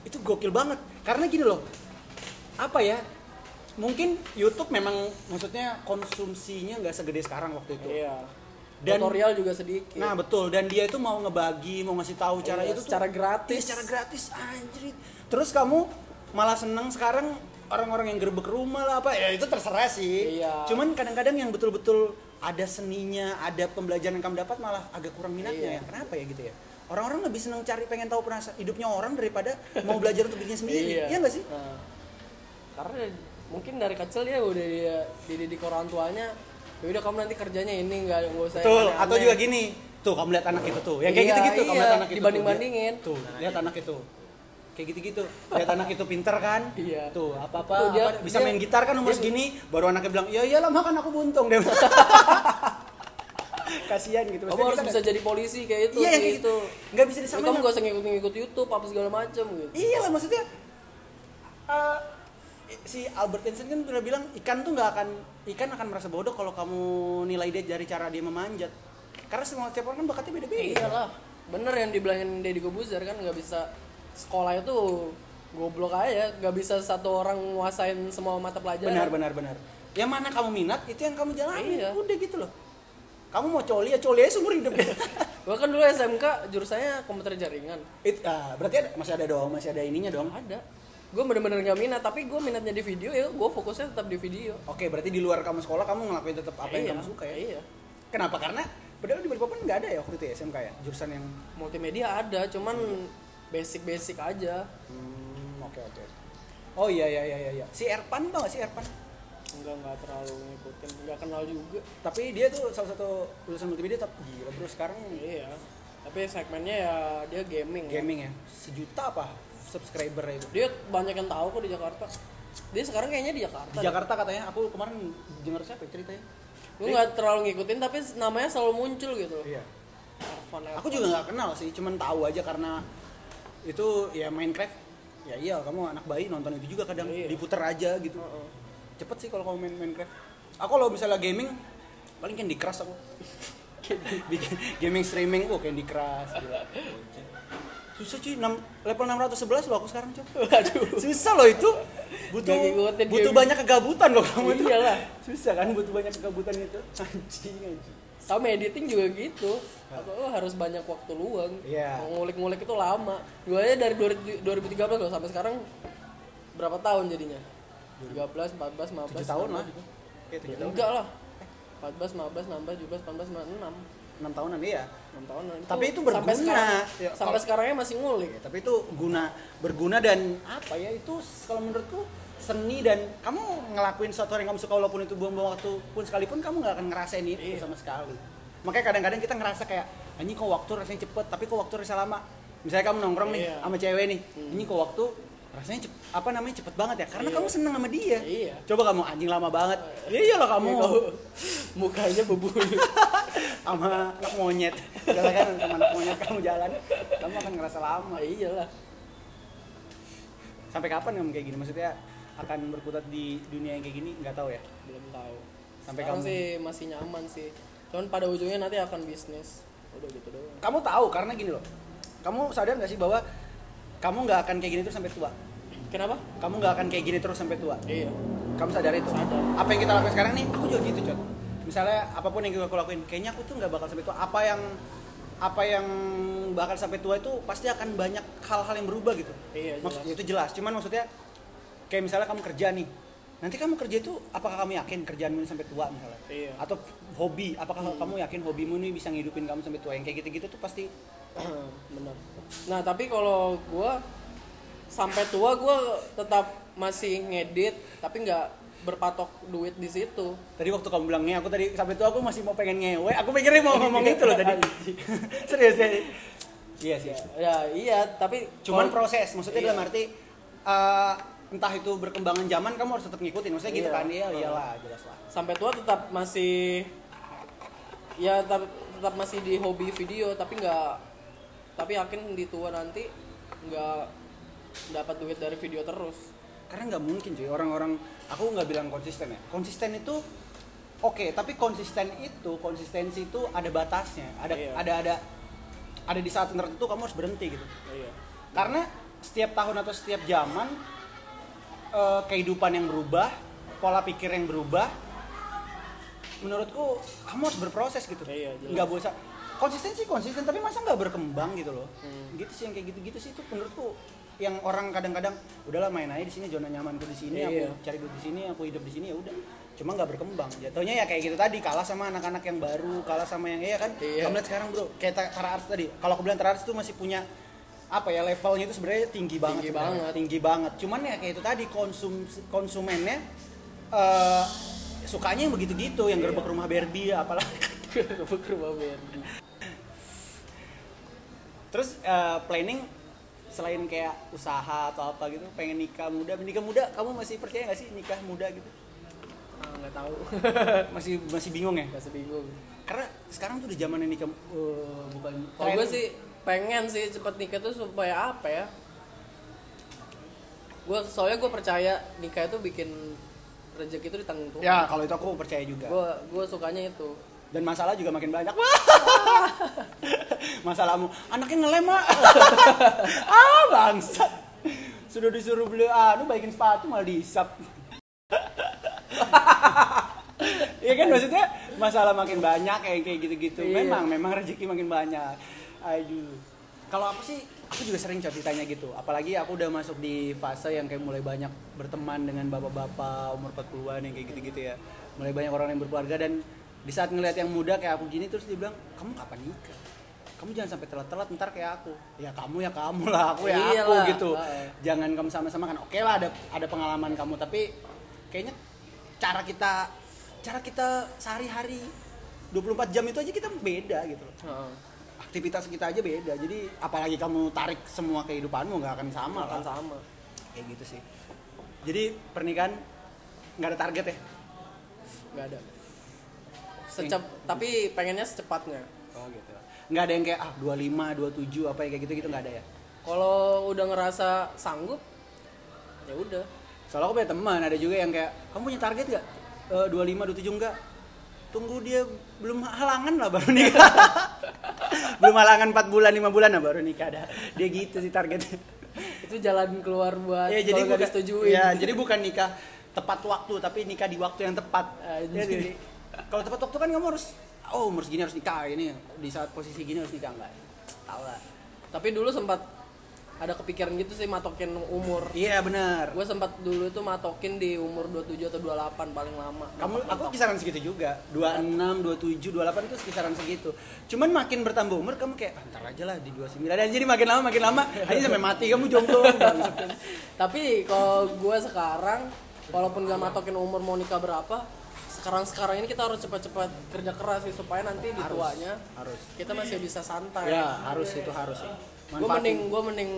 S1: itu gokil banget karena gini loh apa ya mungkin YouTube memang maksudnya konsumsinya nggak segede sekarang waktu itu
S2: Iya.
S1: Dan-
S2: tutorial juga sedikit.
S1: nah betul dan dia itu mau ngebagi mau ngasih tahu cara
S2: Iya,
S1: itu tuh-
S2: secara gratis.
S1: Iya, secara gratis anjir terus kamu malah seneng sekarang orang-orang yang gerbek rumah lah apa ya itu terserah sih
S2: Iya.
S1: cuman kadang-kadang yang betul-betul ada seninya ada pembelajaran yang kamu dapat malah agak kurang minatnya
S2: Iya.
S1: ya kenapa ya gitu ya orang-orang lebih seneng cari pengen tahu perasa hidupnya orang daripada mau belajar untuk bikin sendiri iya nggak sih
S2: Nah, karena mungkin dari kecil dia udah dia dididik orang tuanya, ya udah kamu nanti kerjanya ini nggak nggak usah. yang
S1: betul
S2: aneh-aneh."
S1: atau juga gini tuh kamu lihat anak itu tuh yang kayak
S2: Iya,
S1: gitu-gitu kamu lihat
S2: iya,
S1: anak itu tuh,
S2: dibanding-bandingin.
S1: dia- tuh lihat anak itu kayak gitu-gitu lihat anak itu pinter kan
S2: Iya.
S1: tuh apa-apa
S2: Tuh, dia-
S1: apa- bisa
S2: dia-
S1: main gitar kan umur
S2: dia-
S1: segini baru anaknya bilang ya iyalah makan aku buntung dia bilang. kasihan gitu
S2: kamu harus bisa jadi polisi kayak itu
S1: iya yang
S2: kayak
S1: kayak gitu
S2: itu
S1: nggak bisa
S2: Jadi
S1: disamain
S2: kamu gak usah ngikut-ngikut YouTube apa segala macam gitu
S1: iya lah maksudnya eh, si Albert Einstein kan pernah bilang ikan tuh nggak akan ikan akan merasa bodoh kalau kamu nilai dia dari cara dia memanjat karena semua setiap orang kan bakatnya beda-beda
S2: iyalah bener yang dibilangin Deddy Kobuzer kan nggak bisa sekolah itu goblok aja nggak bisa satu orang nguasain semua mata pelajaran
S1: benar benar benar yang mana kamu minat itu yang kamu jalani
S2: Iya.
S1: udah gitu loh kamu mau coli ya coli aja seumur hidup
S2: Gua kan dulu SMK jurusannya komputer jaringan
S1: It- ah, berarti ada- masih ada dong masih ada ininya dong
S2: ada gue bener-bener gak minat tapi gue minatnya di video ya gue fokusnya tetap di video
S1: oke berarti di luar kamu sekolah kamu ngelakuin tetap apa yang
S2: Iya,
S1: kamu suka ya
S2: iya
S1: kenapa karena padahal di Balikpapan nggak ada ya waktu itu ya SMK ya jurusan yang
S2: multimedia ada cuman basic-basic aja
S1: Hmm, oke oke. Oh iya iya iya iya, iya. Si Erpan tau gak si Erpan?
S2: enggak nggak terlalu ngikutin nggak kenal juga
S1: Tapi dia tuh salah satu lulusan multimedia tapi gila bro sekarang
S2: iya tapi segmennya ya dia gaming ya.
S1: gaming ya. Sejuta apa subscriber itu?
S2: dia banyak yang tahu kok di Jakarta dia sekarang kayaknya di Jakarta
S1: Di Jakarta katanya aku kemarin dengar siapa ya ceritanya?
S2: gue nggak terlalu ngikutin tapi namanya selalu muncul gitu ya. loh
S1: Iya.
S2: Ervan, Ervan.
S1: Aku juga nggak kenal sih, cuman tahu aja karena itu ya Minecraft. Ya iya, kamu anak bayi nonton itu juga kadang
S2: Iya.
S1: diputer aja gitu.
S2: Heeh.
S1: Cepet sih kalau kamu main Minecraft. Aku kalau misalnya gaming paling Candy Crush aku. Bikin gaming streaming oh Candy Crush. gila. Susah cuy, enam- level 611 loh aku sekarang cuy.
S2: Waduh.
S1: Susah loh itu. Butuh
S2: Nggak ngikutin
S1: butuh
S2: gaming. Iya.
S1: banyak kegabutan loh kamu itu.
S2: Iyalah.
S1: Susah kan butuh banyak kegabutan itu. Anjing anjing.
S2: sama editing juga gitu aku lo harus banyak waktu luang
S1: Iya.
S2: Mau ngulik-ngulik itu lama gue aja dari 2000 2013 loh sampai sekarang berapa tahun jadinya 13 14 15
S1: 7 tahun lah.
S2: 16.
S1: Kayak 7 tahun.
S2: enggak lah 14 15 16 17 18 19
S1: 6 tahunan iya.
S2: 6 tahun lah.
S1: Tapi itu
S2: sampai
S1: berguna.
S2: sekarang,
S1: Ya,
S2: sampai
S1: kalau-
S2: sekarangnya masih ngulik
S1: Ya, tapi itu guna berguna dan apa ya itu s- kalau menurutku seni dan kamu ngelakuin sesuatu yang kamu suka walaupun itu buang-buang waktu pun sekalipun kamu nggak akan ngerasain itu
S2: Iya.
S1: sama sekali makanya kadang-kadang kita ngerasa kayak anjing kok waktu rasanya cepet tapi kok waktu rasanya lama misalnya kamu nongkrong nih
S2: Iya.
S1: sama cewek nih anjing kok waktu rasanya cep- apa namanya cepet banget ya karena
S2: Iya.
S1: kamu seneng sama dia
S2: Iya.
S1: coba kamu anjing lama banget iya iyalah kamu
S2: mukanya bebuyut
S1: sama anak monyet jalan kan sama anak monyet kamu jalan kamu akan ngerasa lama
S2: nah, iyalah
S1: sampai kapan kamu kayak gini maksudnya akan berkutat di dunia yang kayak gini nggak tahu ya
S2: belum tahu
S1: Sampai
S2: sekarang
S1: kamu-
S2: sih masih nyaman sih cuman pada ujungnya nanti akan bisnis udah gitu doang
S1: kamu tahu karena gini loh kamu sadar nggak sih bahwa kamu nggak akan kayak gini terus sampai tua
S2: kenapa
S1: kamu nggak akan kayak gini terus sampai tua
S2: iya
S1: kamu sadar itu
S2: Sadar.
S1: apa yang kita lakukan sekarang nih aku juga gitu cot misalnya apapun yang aku lakuin kayaknya aku tuh nggak bakal sampai tua apa yang apa yang bakal sampai tua itu pasti akan banyak hal-hal yang berubah gitu
S2: Iya, jelas.
S1: maksudnya itu jelas cuman maksudnya kayak misalnya kamu kerja nih nanti kamu kerja itu apakah kamu yakin kerjaanmu ini sampai tua misalnya
S2: Iya. Hmm.
S1: atau hobi apakah kamu yakin hobimu ini bisa ngidupin kamu sampai tua yang kayak gitu-gitu tuh pasti
S2: benar nah tapi kalau gua sampai tua gua tetap masih ngedit tapi nggak berpatok duit di situ
S1: Tadi waktu kamu bilang ngewe, aku tadi sampai itu aku masih mau pengen ngewe. Aku pikirnya mau ngomong itu loh
S2: Iya.
S1: tadi. serius ya. Iya sih.
S2: ya iya tapi
S1: Cuman
S2: kalau-
S1: proses, maksudnya
S2: Iya.
S1: dalam arti eh, entah itu berkembangan zaman kamu harus tetap ngikutin. Maksudnya gitu
S2: Iya.
S1: kan? Iya, iyalah, jelas lah.
S2: sampai tua tetap masih ya tetap, tetap masih di hobi video tapi nggak tapi yakin di tua nanti nggak dapat duit dari video terus
S1: Karena nggak mungkin cuy orang-orang aku nggak bilang konsisten ya. Konsisten itu oke, tapi konsisten itu konsistensi itu ada batasnya. Ada
S2: Iya.
S1: ada ada ada di saat tertentu kamu harus berhenti gitu.
S2: iya
S1: karena setiap tahun atau setiap zaman eh, kehidupan yang berubah pola pikir yang berubah menurutku kamu harus berproses gitu
S2: Iya, jelas.
S1: nggak bosan konsisten sih konsisten tapi masa nggak berkembang gitu loh
S2: Hmm.
S1: gitu sih yang kayak gitu gitu sih itu menurutku yang orang kadang-kadang udahlah main aja di sini zona nyamanku di sini
S2: Iya.
S1: aku cari duit di sini aku hidup di sini ya udah cuma nggak berkembang jatuhnya ya kayak gitu tadi kalah sama anak-anak yang baru kalah sama yang iya kan
S2: Iya.
S1: kamu lihat sekarang bro kayak Ta- Tara Arts tadi kalau aku bilang Tara Arts tuh masih punya apa ya levelnya itu sebenarnya tinggi banget
S2: Tinggi
S1: sebenarnya.
S2: banget.
S1: tinggi banget cuman ya kayak itu tadi konsum konsumennya eh, sukanya yang begitu-gitu
S2: Iya.
S1: yang gerbek rumah Barbie ya apalah
S2: Gua ke rumah Berdi
S1: terus eh, planning selain kayak usaha atau apa gitu pengen nikah muda nikah muda kamu masih percaya nggak sih nikah muda gitu
S2: Ah, nggak tahu
S1: Eh, masih masih bingung ya
S2: masih bingung
S1: karena sekarang tuh udah zaman ini nikah eh, bukan
S2: Kalau gue sih pengen sih cepet nikah tuh supaya apa ya? Gue soalnya gue percaya nikah itu bikin rezeki itu di tangan Tuhan.
S1: ya kalau itu aku percaya juga
S2: Gue gue sukanya itu.
S1: dan masalah juga makin banyak masalahmu anaknya ngelem mak ah bangsa sudah disuruh beli aduh baikin sepatu malah dihisap Iya kan maksudnya masalah makin banyak kayak kayak gitu-gitu.
S2: Iya.
S1: Memang memang rezeki makin banyak. Aduh. Kalau aku sih aku juga sering ceritanya gitu. Apalagi aku udah masuk di fase yang kayak mulai banyak berteman dengan bapak-bapak umur 40-an yang kayak gitu-gitu ya. Mulai banyak orang yang berkeluarga dan di saat ngelihat yang muda kayak aku gini terus dibilang, "Kamu kapan nikah?" Kamu jangan sampai telat-telat ntar kayak aku. Ya kamu ya kamu lah, aku ya aku
S2: Iyalah.
S1: gitu.
S2: Heeh.
S1: Jangan kamu sama-sama kan. Oke lah ada ada pengalaman kamu tapi kayaknya cara kita cara kita sehari-hari 24 jam itu aja kita beda gitu loh.
S2: Heeh.
S1: Aktivitas kita aja beda. Jadi apalagi kamu tarik semua kehidupanmu nggak akan sama
S2: Akan
S1: lah.
S2: sama.
S1: Kayak gitu sih. Jadi pernikahan nggak ada target ya?
S2: Gak ada. Secep,
S1: Iya.
S2: tapi pengennya secepatnya.
S1: Oh gitu. Nggak ada yang kayak ah 25, 27 apa ya kayak gitu-gitu nggak ada ya?
S2: Kalau udah ngerasa sanggup, ya udah.
S1: Soalnya aku punya teman ada juga yang kayak kamu punya target nggak? E, 25, 27 enggak? Tunggu dia belum halangan lah baru nikah. belum halangan 4 bulan, 5 bulan lah baru nikah dah. Dia gitu sih targetnya.
S2: Itu jalan keluar buat
S1: ya jadi
S2: kalau nggak
S1: bukan
S2: disetujuin.
S1: ya, jadi bukan nikah tepat waktu tapi nikah di waktu yang tepat
S2: Anjir.
S1: Ya, jadi, kalau tepat waktu kan kamu harus oh umur segini harus nikah ini di saat posisi gini harus nikah enggak tahu lah
S2: Tapi dulu sempat ada kepikiran gitu sih matokin umur.
S1: iya benar
S2: Gue sempat dulu tuh matokin di umur 27 atau 28 paling lama.
S1: kamu aku kisaran segitu juga 26 27 28 itu kisaran segitu cuman makin bertambah umur kamu kayak "Ah, ntar aja lah di 29 dan jadi makin lama makin lama hanya sampai mati kamu jomblo bangsat.
S2: Tapi kalau gue sekarang walaupun gak matokin umur mau nikah berapa, sekarang-sekarang ini kita harus cepat-cepat kerja keras sih supaya nanti di tuanya
S1: harus
S2: kita masih bisa santai.
S1: ya harus itu harus ya.
S2: Gue
S1: Manfaatin.
S2: mending gue mending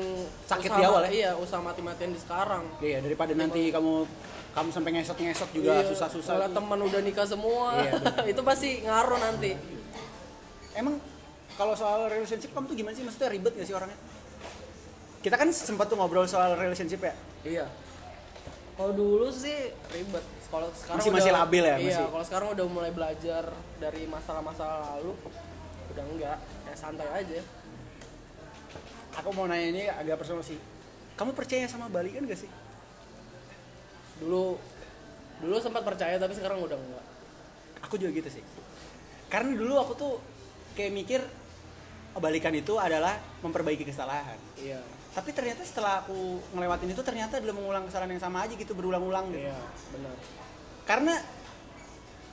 S1: Sakit di
S2: usaha-
S1: awal ya?
S2: Iya, usaha mati-matian di sekarang.
S1: iya daripada nanti kamu kamu sampai ngesot-ngesot juga
S2: Iya,
S1: susah-susah
S2: kalau teman udah nikah semua,
S1: Iya,
S2: itu pasti ngaruh nanti.
S1: Emang kalau soal relationship kamu tuh gimana sih? Maksudnya ribet gak sih orangnya? Kita kan sempat tuh ngobrol soal relationship ya.
S2: Iya. Kalau dulu sih ribet. Kalau sekarang
S1: Masih- masih
S2: udah-
S1: labil ya,
S2: Iya.
S1: masih?
S2: Kalau sekarang udah mulai belajar dari masalah-masalah lalu, udah enggak. Kayak santai aja.
S1: Aku mau nanya ini agak personal sih. Kamu percaya sama balikan gak sih?
S2: Dulu dulu sempat percaya tapi sekarang udah enggak.
S1: Aku juga gitu sih. Karena dulu aku tuh kayak mikir oh, balikan itu adalah memperbaiki kesalahan.
S2: Iya.
S1: Tapi ternyata setelah aku ngelewatin itu ternyata adalah mengulang kesalahan yang sama aja gitu berulang-ulang gitu.
S2: Iya, benar.
S1: Karena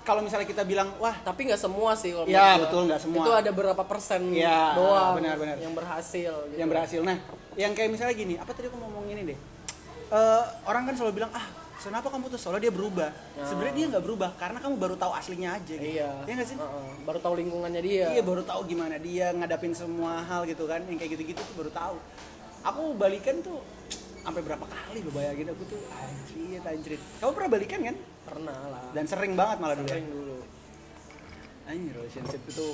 S1: kalau misalnya kita bilang wah
S2: Tapi nggak semua sih kalau
S1: Iya,
S2: menurut gua.
S1: betul, nggak semua.
S2: Itu ada berapa persen
S1: Iya,
S2: doang
S1: benar-benar.
S2: yang berhasil gitu.
S1: yang berhasil nah yang kayak misalnya gini apa tadi aku ngomong ini deh Eh, orang kan selalu bilang ah kenapa kamu tuh solo dia berubah sebenarnya dia nggak berubah karena kamu baru tahu aslinya aja gitu
S2: Iya.
S1: ya nggak sih
S2: Heeh, Baru tahu lingkungannya dia.
S1: iya baru tahu gimana dia ngadapin semua hal gitu kan yang kayak gitu-gitu tuh baru tahu aku balikan tuh sampai berapa kali lo bayangin aku tuh anjrit anjrit kamu pernah balikan kan
S2: Pernah lah.
S1: dan sering banget malah dulu ya?
S2: Sering dulu.
S1: anjir relationship itu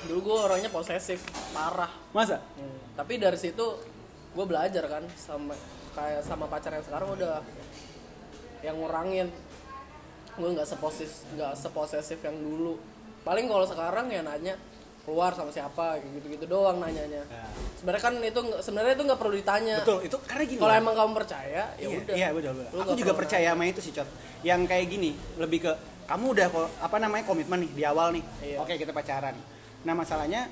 S2: Dulu gue orangnya posesif, parah.
S1: masa
S2: Hmm, Tapi dari situ gue belajar kan sama kayak sama pacar yang sekarang udah yang ngurangin gue nggak seposesif nggak seposesif yang dulu paling kalau sekarang ya nanya keluar sama siapa gitu gitu doang nanyanya
S1: Ya.
S2: sebenarnya kan itu nggak- sebenarnya itu nggak perlu ditanya
S1: betul itu karena gini
S2: kalau
S1: Wan.
S2: emang kamu percaya ya
S1: Iya,
S2: udah
S1: Iya, betul, betul.
S2: Lu
S1: Aku
S2: nggak
S1: juga
S2: perlu
S1: percaya sama itu sih, Cot. Yang kayak gini, lebih ke kamu udah ko- apa namanya komitmen nih di awal nih.
S2: Iya.
S1: Oke, kita pacaran. Nah, masalahnya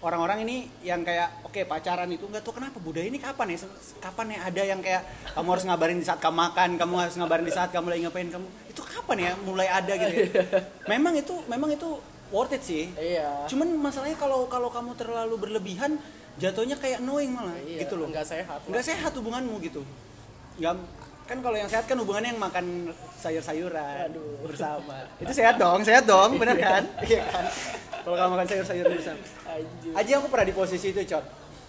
S1: orang-orang ini yang kayak oke pacaran itu nggak tahu kenapa budaya ini kapan ya Se- kapan ya ada yang kayak kamu harus ngabarin di saat kamu makan kamu harus ngabarin di saat kamu lagi ngapain kamu itu kapan ya mulai ada gitu ya. memang itu memang itu worth it sih
S2: iya
S1: cuman masalahnya kalau kalau kamu terlalu berlebihan jatuhnya kayak annoying malah
S2: Iya,
S1: gitu loh
S2: nggak sehat lah.
S1: nggak sehat hubunganmu gitu nggak kan kalau yang sehat kan hubungannya yang makan sayur-sayuran
S2: Aduh.
S1: bersama itu sehat dong sehat dong bener kan iya kan kalau kamu makan sayur-sayuran bersama
S2: Anjir.
S1: aja aku pernah di posisi itu cot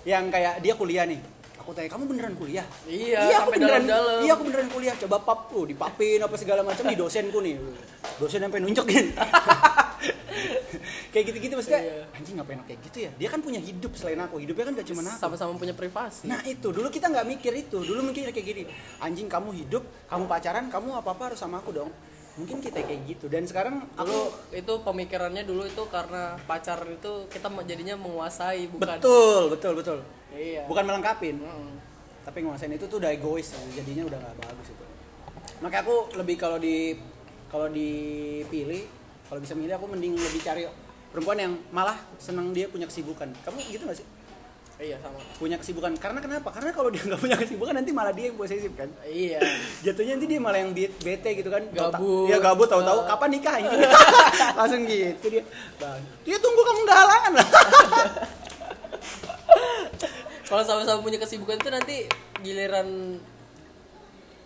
S1: yang kayak dia kuliah nih aku tanya kamu beneran kuliah
S2: Iya,
S1: aku
S2: sampai
S1: beneran
S2: dalam-dalam.
S1: iya aku beneran kuliah coba pap tuh dipapin apa segala macam di dosenku nih dosen sampai nunjukin kayak gitu-gitu maksudnya
S2: Iya.
S1: anjing ngapain aku kayak gitu ya dia kan punya hidup selain aku hidupnya kan gak cuma aku
S2: sama-sama punya privasi
S1: Nah itu dulu kita nggak mikir itu. Dulu mungkin kayak gini, anjing kamu hidup, kamu pacaran, kamu apa apa harus sama aku dong. Mungkin kita kayak gitu. Dan sekarang
S2: dulu
S1: aku
S2: itu pemikirannya dulu itu karena pacar itu kita jadinya menguasai bukan
S1: betul betul betul.
S2: iya
S1: Bukan melengkapin,
S2: Mm.
S1: tapi nguasain itu tuh udah egois. Jadinya udah nggak bagus itu. Makanya aku lebih kalau di kalau dipilih, kalau bisa milih aku mending lebih cari perempuan yang malah senang dia punya kesibukan. Kamu gitu gak sih?
S2: iya sama
S1: Punya kesibukan. Karena kenapa? Karena kalau dia nggak punya kesibukan nanti malah dia yang posesif kan.
S2: iya
S1: jatuhnya nanti dia malah yang bi- bete gitu kan Tau-
S2: Gabut.
S1: ya gabut tahu-tahu
S2: Ah.
S1: kapan nikah ini langsung gitu dia bang dia tunggu kamu nggak halangan lah
S2: kalau sama-sama punya kesibukan itu nanti giliran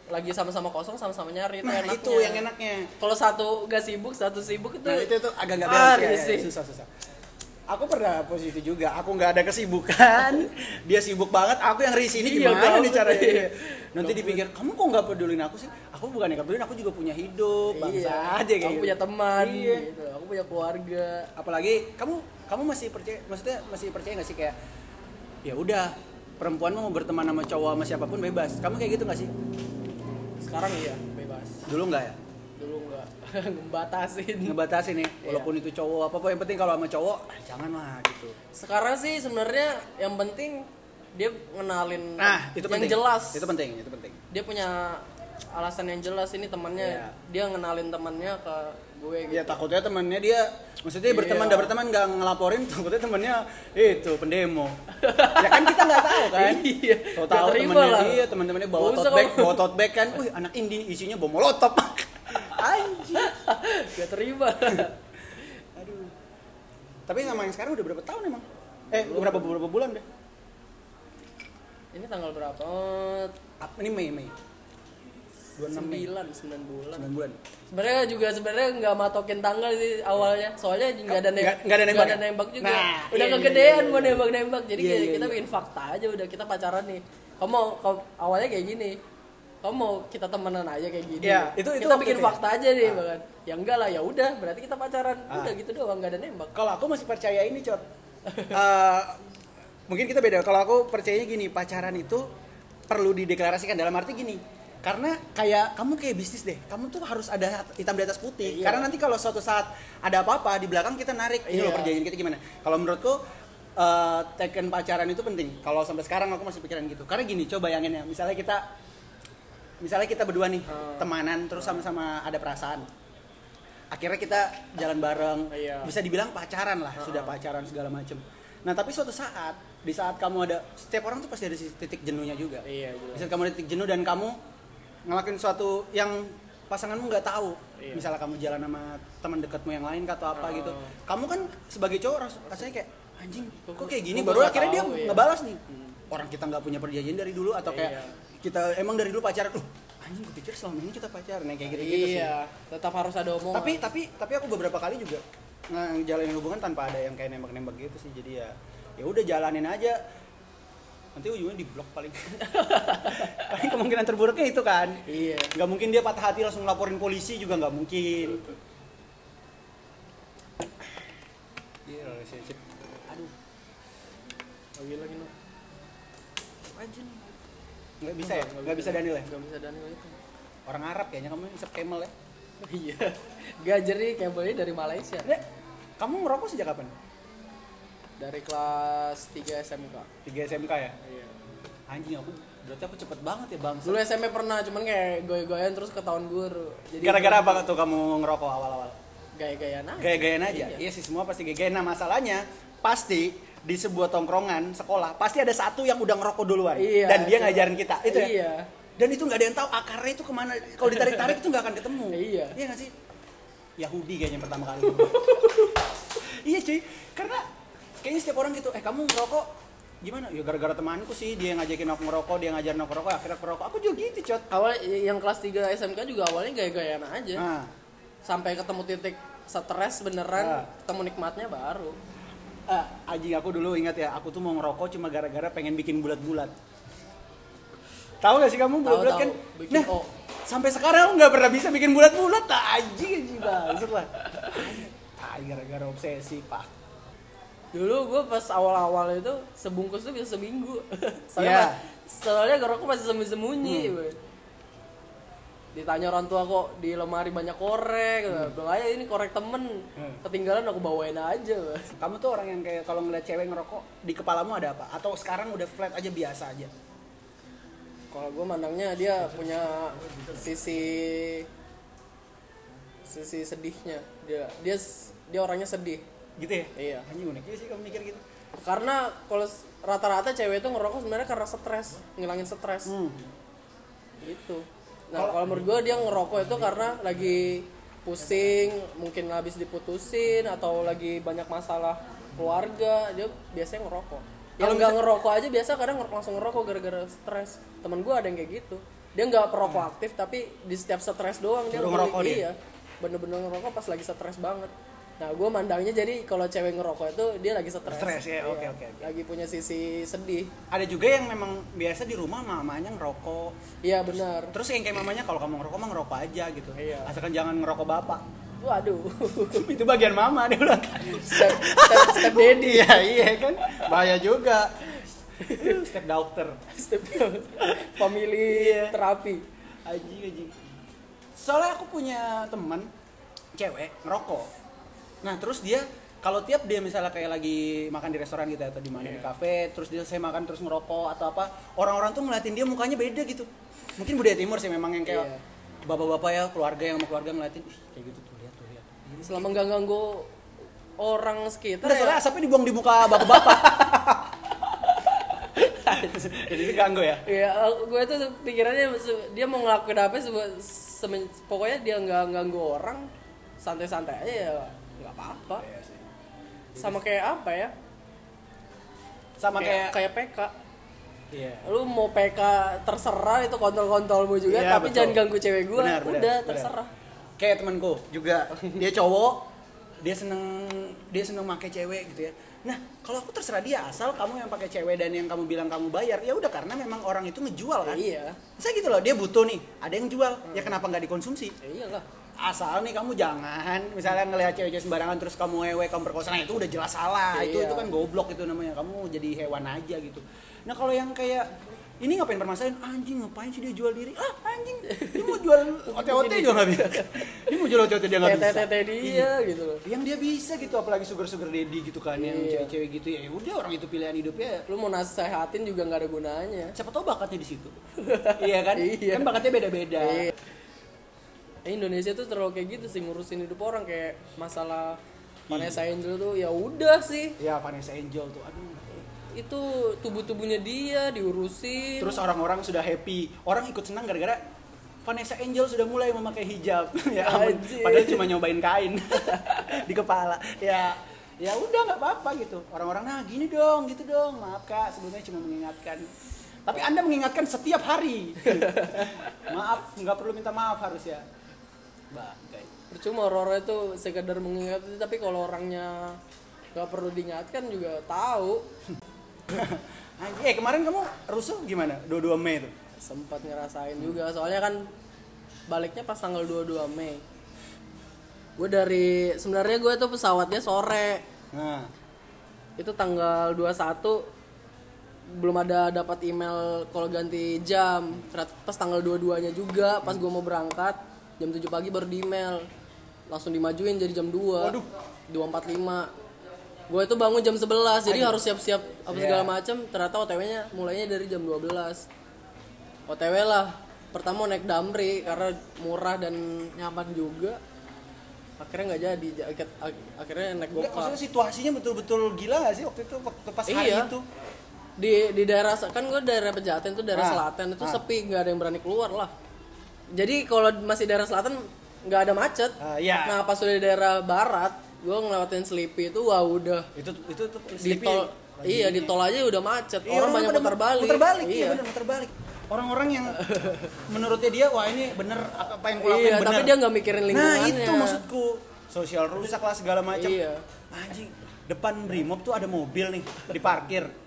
S2: lagi sama-sama kosong sama-sama nyari itu
S1: nah
S2: enaknya.
S1: itu yang enaknya
S2: kalau satu gak sibuk satu sibuk itu
S1: nah itu tuh agak nggak
S2: Ah,
S1: beres ya, ya,
S2: risih.
S1: susah susah aku pernah posisi itu juga aku nggak ada kesibukan dia sibuk banget aku yang risih ini
S2: Iya,
S1: gimana nih
S2: gabut,
S1: caranya
S2: iya.
S1: nanti
S2: Gabut.
S1: dipikir kamu kok nggak pedulin aku sih aku bukan yang pedulin aku juga punya hidup bangsa
S2: iya
S1: aja kayak
S2: aku
S1: gitu.
S2: punya teman
S1: Iya.
S2: gitu. aku punya keluarga
S1: apalagi kamu kamu masih percaya maksudnya masih percaya nggak sih kayak ya udah perempuan mau berteman sama cowok sama siapapun bebas kamu kayak gitu nggak sih
S2: sekarang iya bebas
S1: dulu nggak ya
S2: dulu nggak ngebatasin
S1: ngebatasin nih walaupun itu cowok apa apa yang penting kalau sama cowok ah, jangan lah gitu
S2: sekarang sih sebenarnya yang penting dia ngenalin
S1: nah itu
S2: yang
S1: penting
S2: jelas
S1: itu penting itu penting
S2: dia punya alasan yang jelas ini temannya
S1: Iya.
S2: dia ngenalin temannya ke gue gitu
S1: ya takutnya temannya dia maksudnya
S2: Iya.
S1: berteman dah berteman nggak ngelaporin takutnya temannya itu pendemo ya kan kita nggak tahu kan
S2: Iya.
S1: tahu
S2: Nggak
S1: tahu
S2: terima
S1: temannya
S2: lah.
S1: dia teman-temannya bawa
S2: Nggak usah
S1: tote bag
S2: kamu.
S1: bawa tote bag kan wih anak indie isinya bom molotov anjir
S2: gak terima
S1: Aduh. Tapi sama yang sekarang udah berapa tahun emang? Eh, berapa beberapa bulan deh?
S2: ini tanggal berapa oh,
S1: Ap- Ini Mei, Mei. 26 Mei.
S2: sembilan sembilan bulan
S1: 9 bulan.
S2: sebenarnya juga sebenarnya nggak matokin tanggal sih awalnya soalnya nggak ada nembak
S1: Nggak- nggak ada nembak ya?
S2: juga
S1: Nah,
S2: udah
S1: iya,
S2: kegedean
S1: iya,
S2: mau
S1: iya.
S2: nembak nembak jadi
S1: Iya,
S2: kayak
S1: iya,
S2: kita
S1: iya.
S2: bikin fakta aja udah kita pacaran nih kamu mau kamu- awalnya kayak gini kamu mau kita temenan aja kayak gini
S1: Iya, itu- itu
S2: kita
S1: waktu
S2: bikin
S1: itu ya?
S2: fakta aja deh
S1: Ah.
S2: bahkan ya enggak lah ya udah berarti kita pacaran
S1: Ah.
S2: udah gitu doang nggak ada nembak
S1: Kalau aku masih percaya ini, Cot. Eh, mungkin kita beda. Kalau aku percayanya gini, pacaran itu perlu dideklarasikan dalam arti gini. Karena kayak kamu kayak bisnis deh, kamu tuh harus ada hitam di atas putih.
S2: Iya.
S1: Karena nanti kalau suatu saat ada apa-apa di belakang kita narik ini
S2: Iya.
S1: loh perjanjian kita gimana. Kalau menurutku eh teken pacaran itu penting. Kalau sampai sekarang aku masih pikiran gitu. Karena gini, coba bayangin ya, misalnya kita misalnya kita berdua nih
S2: Hmm.
S1: temanan terus sama-sama ada perasaan akhirnya kita jalan bareng
S2: Iya.
S1: bisa dibilang pacaran lah sudah pacaran segala macem nah tapi suatu saat di saat kamu ada setiap orang tuh pasti ada titik jenuhnya juga
S2: iya jelas.
S1: di saat kamu ada titik jenuh dan kamu ngelakuin suatu yang pasanganmu nggak tahu
S2: Iya.
S1: misalnya kamu jalan sama teman dekatmu yang lain kah, atau apa
S2: Oh.
S1: gitu kamu kan sebagai cowok ras- rasanya kayak anjing kok
S2: Kok-
S1: kayak gini
S2: kok
S1: baru
S2: gua nggak
S1: akhirnya dia
S2: tahu, iya.
S1: ngebalas nih orang kita nggak punya perjanjian dari dulu atau kayak
S2: Iya.
S1: kita emang dari dulu pacaran loh anjing gue pikir selama ini kita pacaran yang kayak gitu gitu sih
S2: iya tetap harus ada omongan
S1: tapi tapi tapi aku beberapa kali juga ngejalanin hubungan tanpa ada yang kayak nembak-nembak gitu sih jadi ya ya udah jalanin aja nanti ujungnya di blok paling paling kemungkinan terburuknya itu kan
S2: iya
S1: nggak mungkin dia patah hati langsung laporin polisi juga nggak mungkin Iya, relationship.
S2: aduh lagi lagi no aja nih
S1: nggak bisa ya nggak bisa Daniel ya
S2: nggak bisa Daniel itu
S1: orang Arab kayaknya kamu isep camel ya
S2: Oh iya. Gajer nih kabelnya dari Malaysia.
S1: Dek, kamu ngerokok sejak kapan
S2: Dari kelas 3 SMK.
S1: 3 SMK ya
S2: Iya.
S1: anjing aku berarti aku cepet banget ya bang
S2: Dulu SMP pernah, cuman kayak goy-goyan terus ke tahun guru. Jadi
S1: gara-gara apa tuh kamu ngerokok awal-awal
S2: Gaya-gayaan aja.
S1: gaya-gayaan aja.
S2: Iya.
S1: Iya sih semua pasti gaya-gayaan. Nah, masalahnya pasti di sebuah tongkrongan sekolah pasti ada satu yang udah ngerokok duluan
S2: Iya.
S1: dan dia ngajarin kita itu ya?
S2: Iya.
S1: dan itu nggak ada yang tahu akarnya itu kemana kalau ditarik-tarik itu nggak akan ketemu
S2: Iya.
S1: iya nggak sih Yahudi kayaknya pertama kali iya cuy karena kayaknya setiap orang gitu eh kamu ngerokok gimana ya gara-gara temanku sih dia yang ngajakin aku ngerokok dia yang ngajarin aku ngerokok akhirnya aku ngerokok aku juga gitu cot
S2: Awal yang kelas 3 SMK juga awalnya gaya-gayaan aja.
S1: nah,
S2: Sampai ketemu titik stres beneran,
S1: Ah.
S2: ketemu nikmatnya baru.
S1: eh, anjing aku dulu ingat ya aku tuh mau ngerokok cuma gara-gara pengen bikin bulat-bulat tahu gak sih kamu bulat-bulat
S2: Tahu-tahu
S1: kan
S2: bikin
S1: nah
S2: O.
S1: Ah, sampai sekarang aku nggak pernah bisa bikin bulat-bulat tak anjing anjing banget lah Tai gara-gara obsesi, Pak.
S2: Dulu gue pas awal-awal itu sebungkus tuh bisa seminggu.
S3: Iya.
S2: soalnya soalnya gerokok masih sembunyi-sembunyi. boy. Ditanya orang tua kok di lemari banyak korek, bilang aja ini korek temen, ketinggalan aku bawain aja. boy.
S1: Kamu tuh orang yang kayak kalau ngeliat cewek ngerokok di kepalamu ada apa? Atau sekarang udah flat aja biasa aja?
S2: Kalau gue mandangnya dia punya sisi sisi sedihnya dia dia dia orangnya sedih
S1: Gitu ya?
S2: iya
S1: Anjing unik juga sih kamu mikir gitu.
S2: karena kalau s- rata-rata cewek itu ngerokok sebenarnya karena stres ngilangin stres gitu nah kalau menurut gue dia ngerokok itu karena lagi pusing mungkin habis diputusin atau lagi banyak masalah keluarga dia biasanya ngerokok yang nggak ngerokok aja biasa kadang ngerokok langsung ngerokok gara-gara stres temen gue ada yang kayak gitu dia nggak perokok aktif tapi di setiap stres doang dia
S1: Hmm. Baru
S2: beli-
S1: ngerokok dia?
S2: iya bener-bener ngerokok pas lagi stres banget nah gue mandangnya jadi kalau cewek ngerokok itu dia lagi stres
S1: Stres ya, oke,
S2: Iya,
S1: oke, oke.
S2: lagi punya sisi sedih
S1: Ada juga yang memang biasa di rumah mamanya ngerokok.
S2: iya benar
S1: Terus yang kayak mamanya kalau kamu ngerokok mah ngerokok aja gitu.
S2: Iya.
S1: Asalkan jangan ngerokok bapak.
S2: waduh
S1: itu bagian mama dia bilang. ya,
S2: step, step, step daddy
S3: iya iya kan bahaya juga
S1: Step dokter.
S2: step family
S1: Iya.
S2: terapi
S1: Aji aji. Soalnya aku punya teman cewek ngerokok. Nah terus dia kalau tiap dia misalnya kayak lagi makan di restoran gitu atau di mana di kafe, terus dia saya makan terus ngerokok atau apa, orang-orang tuh ngeliatin dia mukanya beda gitu. Mungkin budaya timur sih memang yang kayak
S2: Iya.
S1: bapak-bapak ya keluarga yang sama keluarga ngeliatin "Ih, kayak gitu tuh lihat tuh lihat.
S2: selama nggak ganggu orang sekitar
S1: Udah soalnya
S2: ya,
S1: asapnya dibuang di muka bapak-bapak.
S3: jadi itu ganggu ya
S2: Iya, gue tuh pikirannya se- dia mau ngelakuin apa sebe- semen- pokoknya dia nggak ganggu orang santai-santai aja ya nggak apa-apa sama kayak apa ya
S1: Sama
S2: kayak
S1: kayak,
S2: kayak PK
S1: iya.
S2: lu mau PK terserah itu kontrol-kontrolmu juga
S3: Iya,
S2: tapi
S3: betul.
S2: jangan ganggu cewek gue
S1: Benar, benar,
S2: udah
S1: benar.
S2: terserah
S1: kayak temanku juga dia cowok dia seneng dia seneng pakai cewek gitu ya nah kalau aku terserah dia asal kamu yang pakai cewek dan yang kamu bilang kamu bayar ya udah karena memang orang itu ngejual kan
S2: iya
S1: saya gitu loh dia butuh nih ada yang jual ya kenapa nggak dikonsumsi
S2: ya iyalah
S1: asal nih kamu jangan misalnya ngelihat cewek-cewek sembarangan terus kamu ewe kamu perkosa nah itu udah jelas salah itu
S2: Iya.
S1: itu kan goblok itu namanya kamu jadi hewan aja gitu nah kalau yang kayak ini ngapain permasalahan anjing ngapain sih dia jual diri ah anjing dia mau jual OTOT juga nggak bisa dia mau jual OTOT dia nggak bisa Iya.
S2: tete dia gitu loh
S1: yang dia bisa gitu apalagi sugar sugar daddy gitu kan yang
S2: Iya.
S1: cewek-cewek gitu ya udah orang itu pilihan hidupnya
S2: lu mau nasehatin juga nggak ada gunanya
S1: siapa tahu bakatnya di situ iya kan
S2: Iya.
S1: kan bakatnya beda-beda
S2: Iya. Eh, Indonesia tuh terlalu kayak gitu sih ngurusin hidup orang kayak masalah Vanessa Angel tuh ya udah sih
S1: ya Vanessa Angel tuh aduh
S2: itu tubuh-tubuhnya dia diurusin
S1: Terus orang-orang sudah happy, orang ikut senang gara-gara Vanessa Angel sudah mulai memakai hijab. ya ampun,
S2: Anjir.
S1: padahal cuma nyobain kain di kepala. Ya ya udah nggak apa-apa gitu. Orang-orang nah gini dong, gitu dong. Maaf Kak, sebelumnya cuma mengingatkan. Tapi Anda mengingatkan setiap hari. maaf, nggak perlu minta maaf harusnya. Bangkai.
S2: percuma orang-orang itu sekedar mengingatkan tapi kalau orangnya nggak perlu diingatkan juga tahu
S1: Anjir, Eh kemarin kamu rusuh gimana? 22 Mei tuh.
S2: sempat ngerasain juga soalnya kan baliknya pas tanggal 22 Mei gue dari sebenarnya gue tuh pesawatnya sore
S1: Nah,
S2: itu tanggal 21 belum ada dapat email kalau ganti jam Ternyata pas tanggal 22-nya juga pas gue mau berangkat jam 7 pagi baru di email langsung dimajuin jadi jam 2
S1: Waduh.
S2: 2.45 gue itu bangun jam 11 jadi harus siap-siap apa segala
S1: Iya.
S2: macam ternyata OTW-nya mulainya dari jam 12 OTW lah pertama naik Damri karena murah dan nyaman juga akhirnya nggak jadi ak- ak- akhirnya naik
S1: nggak,
S2: gokar
S1: maksudnya situasinya betul-betul gila gak sih waktu itu waktu pas hari
S2: Iya.
S1: itu?
S2: di di daerah kan gue daerah Pejaten tuh daerah
S1: Ah,
S2: selatan itu sepi nggak ada yang berani keluar lah jadi kalau masih daerah selatan nggak ada macet
S1: Ah, iya.
S2: nah pas udah di daerah barat gue ngelewatin Sleepy itu wah udah
S1: itu itu tuh
S2: di
S1: Sleepy.
S2: tol iya di tol aja udah macet
S1: Iya,
S2: orang banyak
S1: pada
S2: muter balik
S1: muter balik iya,
S2: iya,
S1: bener, muter balik orang-orang yang menurutnya dia wah ini bener apa yang kulakuin
S2: Iya,
S1: bener
S2: tapi dia nggak mikirin
S1: nah
S2: lingkungannya
S1: itu maksudku sosial rusak lah segala macam
S2: Iya.
S1: anjing depan brimob tuh ada mobil nih diparkir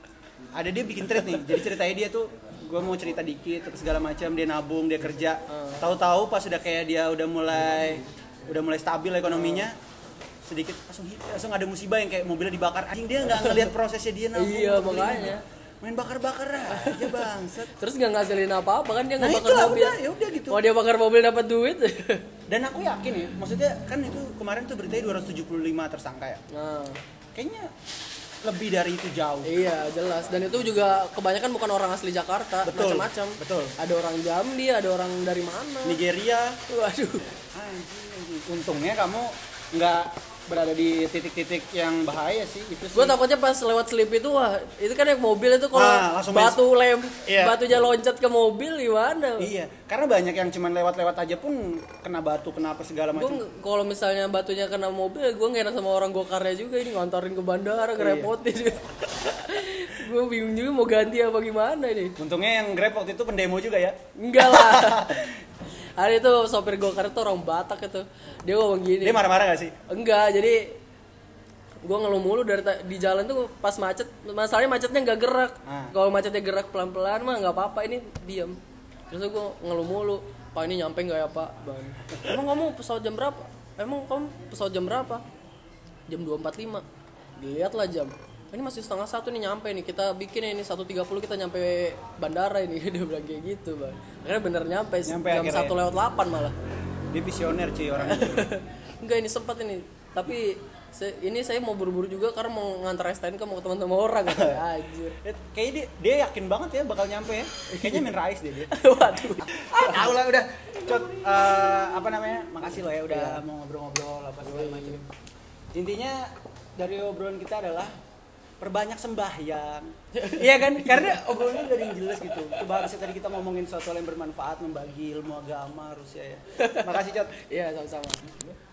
S1: ada dia bikin thread nih jadi ceritanya dia tuh gue mau cerita dikit terus segala macam dia nabung dia
S2: Hmm.
S1: kerja tahu-tahu pas udah kayak dia udah mulai udah mulai stabil ekonominya sedikit langsung hit- langsung ada musibah yang kayak mobilnya dibakar anjing dia nggak ngelihat prosesnya dia nabung
S2: Iya,
S1: untuk beli.
S2: makanya.
S1: main bakar-bakar aja bangset
S2: terus nggak ngasilin apa-apa kan dia
S1: nah
S2: nggak bakar
S1: itulah
S2: mobil Oh.
S1: udah ya udah gitu
S2: kalau dia bakar mobil dapat duit
S1: dan aku yakin ya maksudnya kan itu kemarin tuh beritanya 275 tersangka ya
S2: nah
S1: kayaknya lebih dari itu jauh
S2: iya jelas dan itu juga kebanyakan bukan orang asli Jakarta
S1: Betul.
S2: macam-macam
S1: Betul.
S2: ada orang Jambi ada orang dari mana
S1: Nigeria
S2: waduh
S1: anjing, anjing. untungnya kamu nggak berada di titik-titik yang bahaya sih itu sih
S2: gue takutnya pas lewat slip itu wah itu kan yang mobil itu kalau
S1: Nah, langsung main-
S2: batu lem
S1: Iya.
S2: batunya loncat ke mobil gimana
S1: iya karena banyak yang cuman lewat-lewat aja pun kena batu kena apa segala
S2: gue
S1: macam
S2: kalau misalnya batunya kena mobil gue nggak enak sama orang gokarnya juga ini ngantarin ke
S1: Iya.
S2: bandara ngerepotin gue bingung juga mau ganti apa gimana nih
S1: untungnya yang grab waktu itu pendemo juga ya
S2: enggak lah hari itu sopir gokar itu orang batak itu dia ngomong gini
S1: dia marah-marah gak sih
S2: enggak jadi gue ngeluh mulu dari ta- di jalan tuh pas macet masalahnya macetnya nggak gerak
S1: Ah.
S2: kalau macetnya gerak pelan pelan mah nggak apa apa ini diam terus gue ngeluh mulu pak ini nyampe nggak ya pak Bang, emang kamu pesawat jam berapa emang kamu pesawat jam berapa jam 2.45 dilihatlah jam ini masih setengah satu nih nyampe nih kita bikin ini 1.30 kita nyampe bandara ini dia bilang kayak gitu bang akhirnya bener nyampe,
S1: Nyampe
S2: jam
S1: akhirnya. ya?
S2: satu lewat 8 malah
S1: dia visioner cuy orang itu.
S2: Enggak ini sempat ini. Tapi saya- ini saya mau buru-buru juga karena mau ngantar STNK mau ketemu sama orang Anjir.
S1: Eh, kayaknya dia, dia yakin banget ya bakal nyampe ya kayaknya min rais deh dia
S2: Waduh.
S1: ah tahu lah udah Cot, eh, apa namanya makasih lo ya udah mau ngobrol-ngobrol apa segala macam intinya dari obrolan kita adalah perbanyak sembahyang iya kan karena obrolannya dari yang jelas gitu coba harusnya tadi kita ngomongin sesuatu yang bermanfaat membagi ilmu agama harusnya ya makasih Cot
S2: Iya, sama-sama.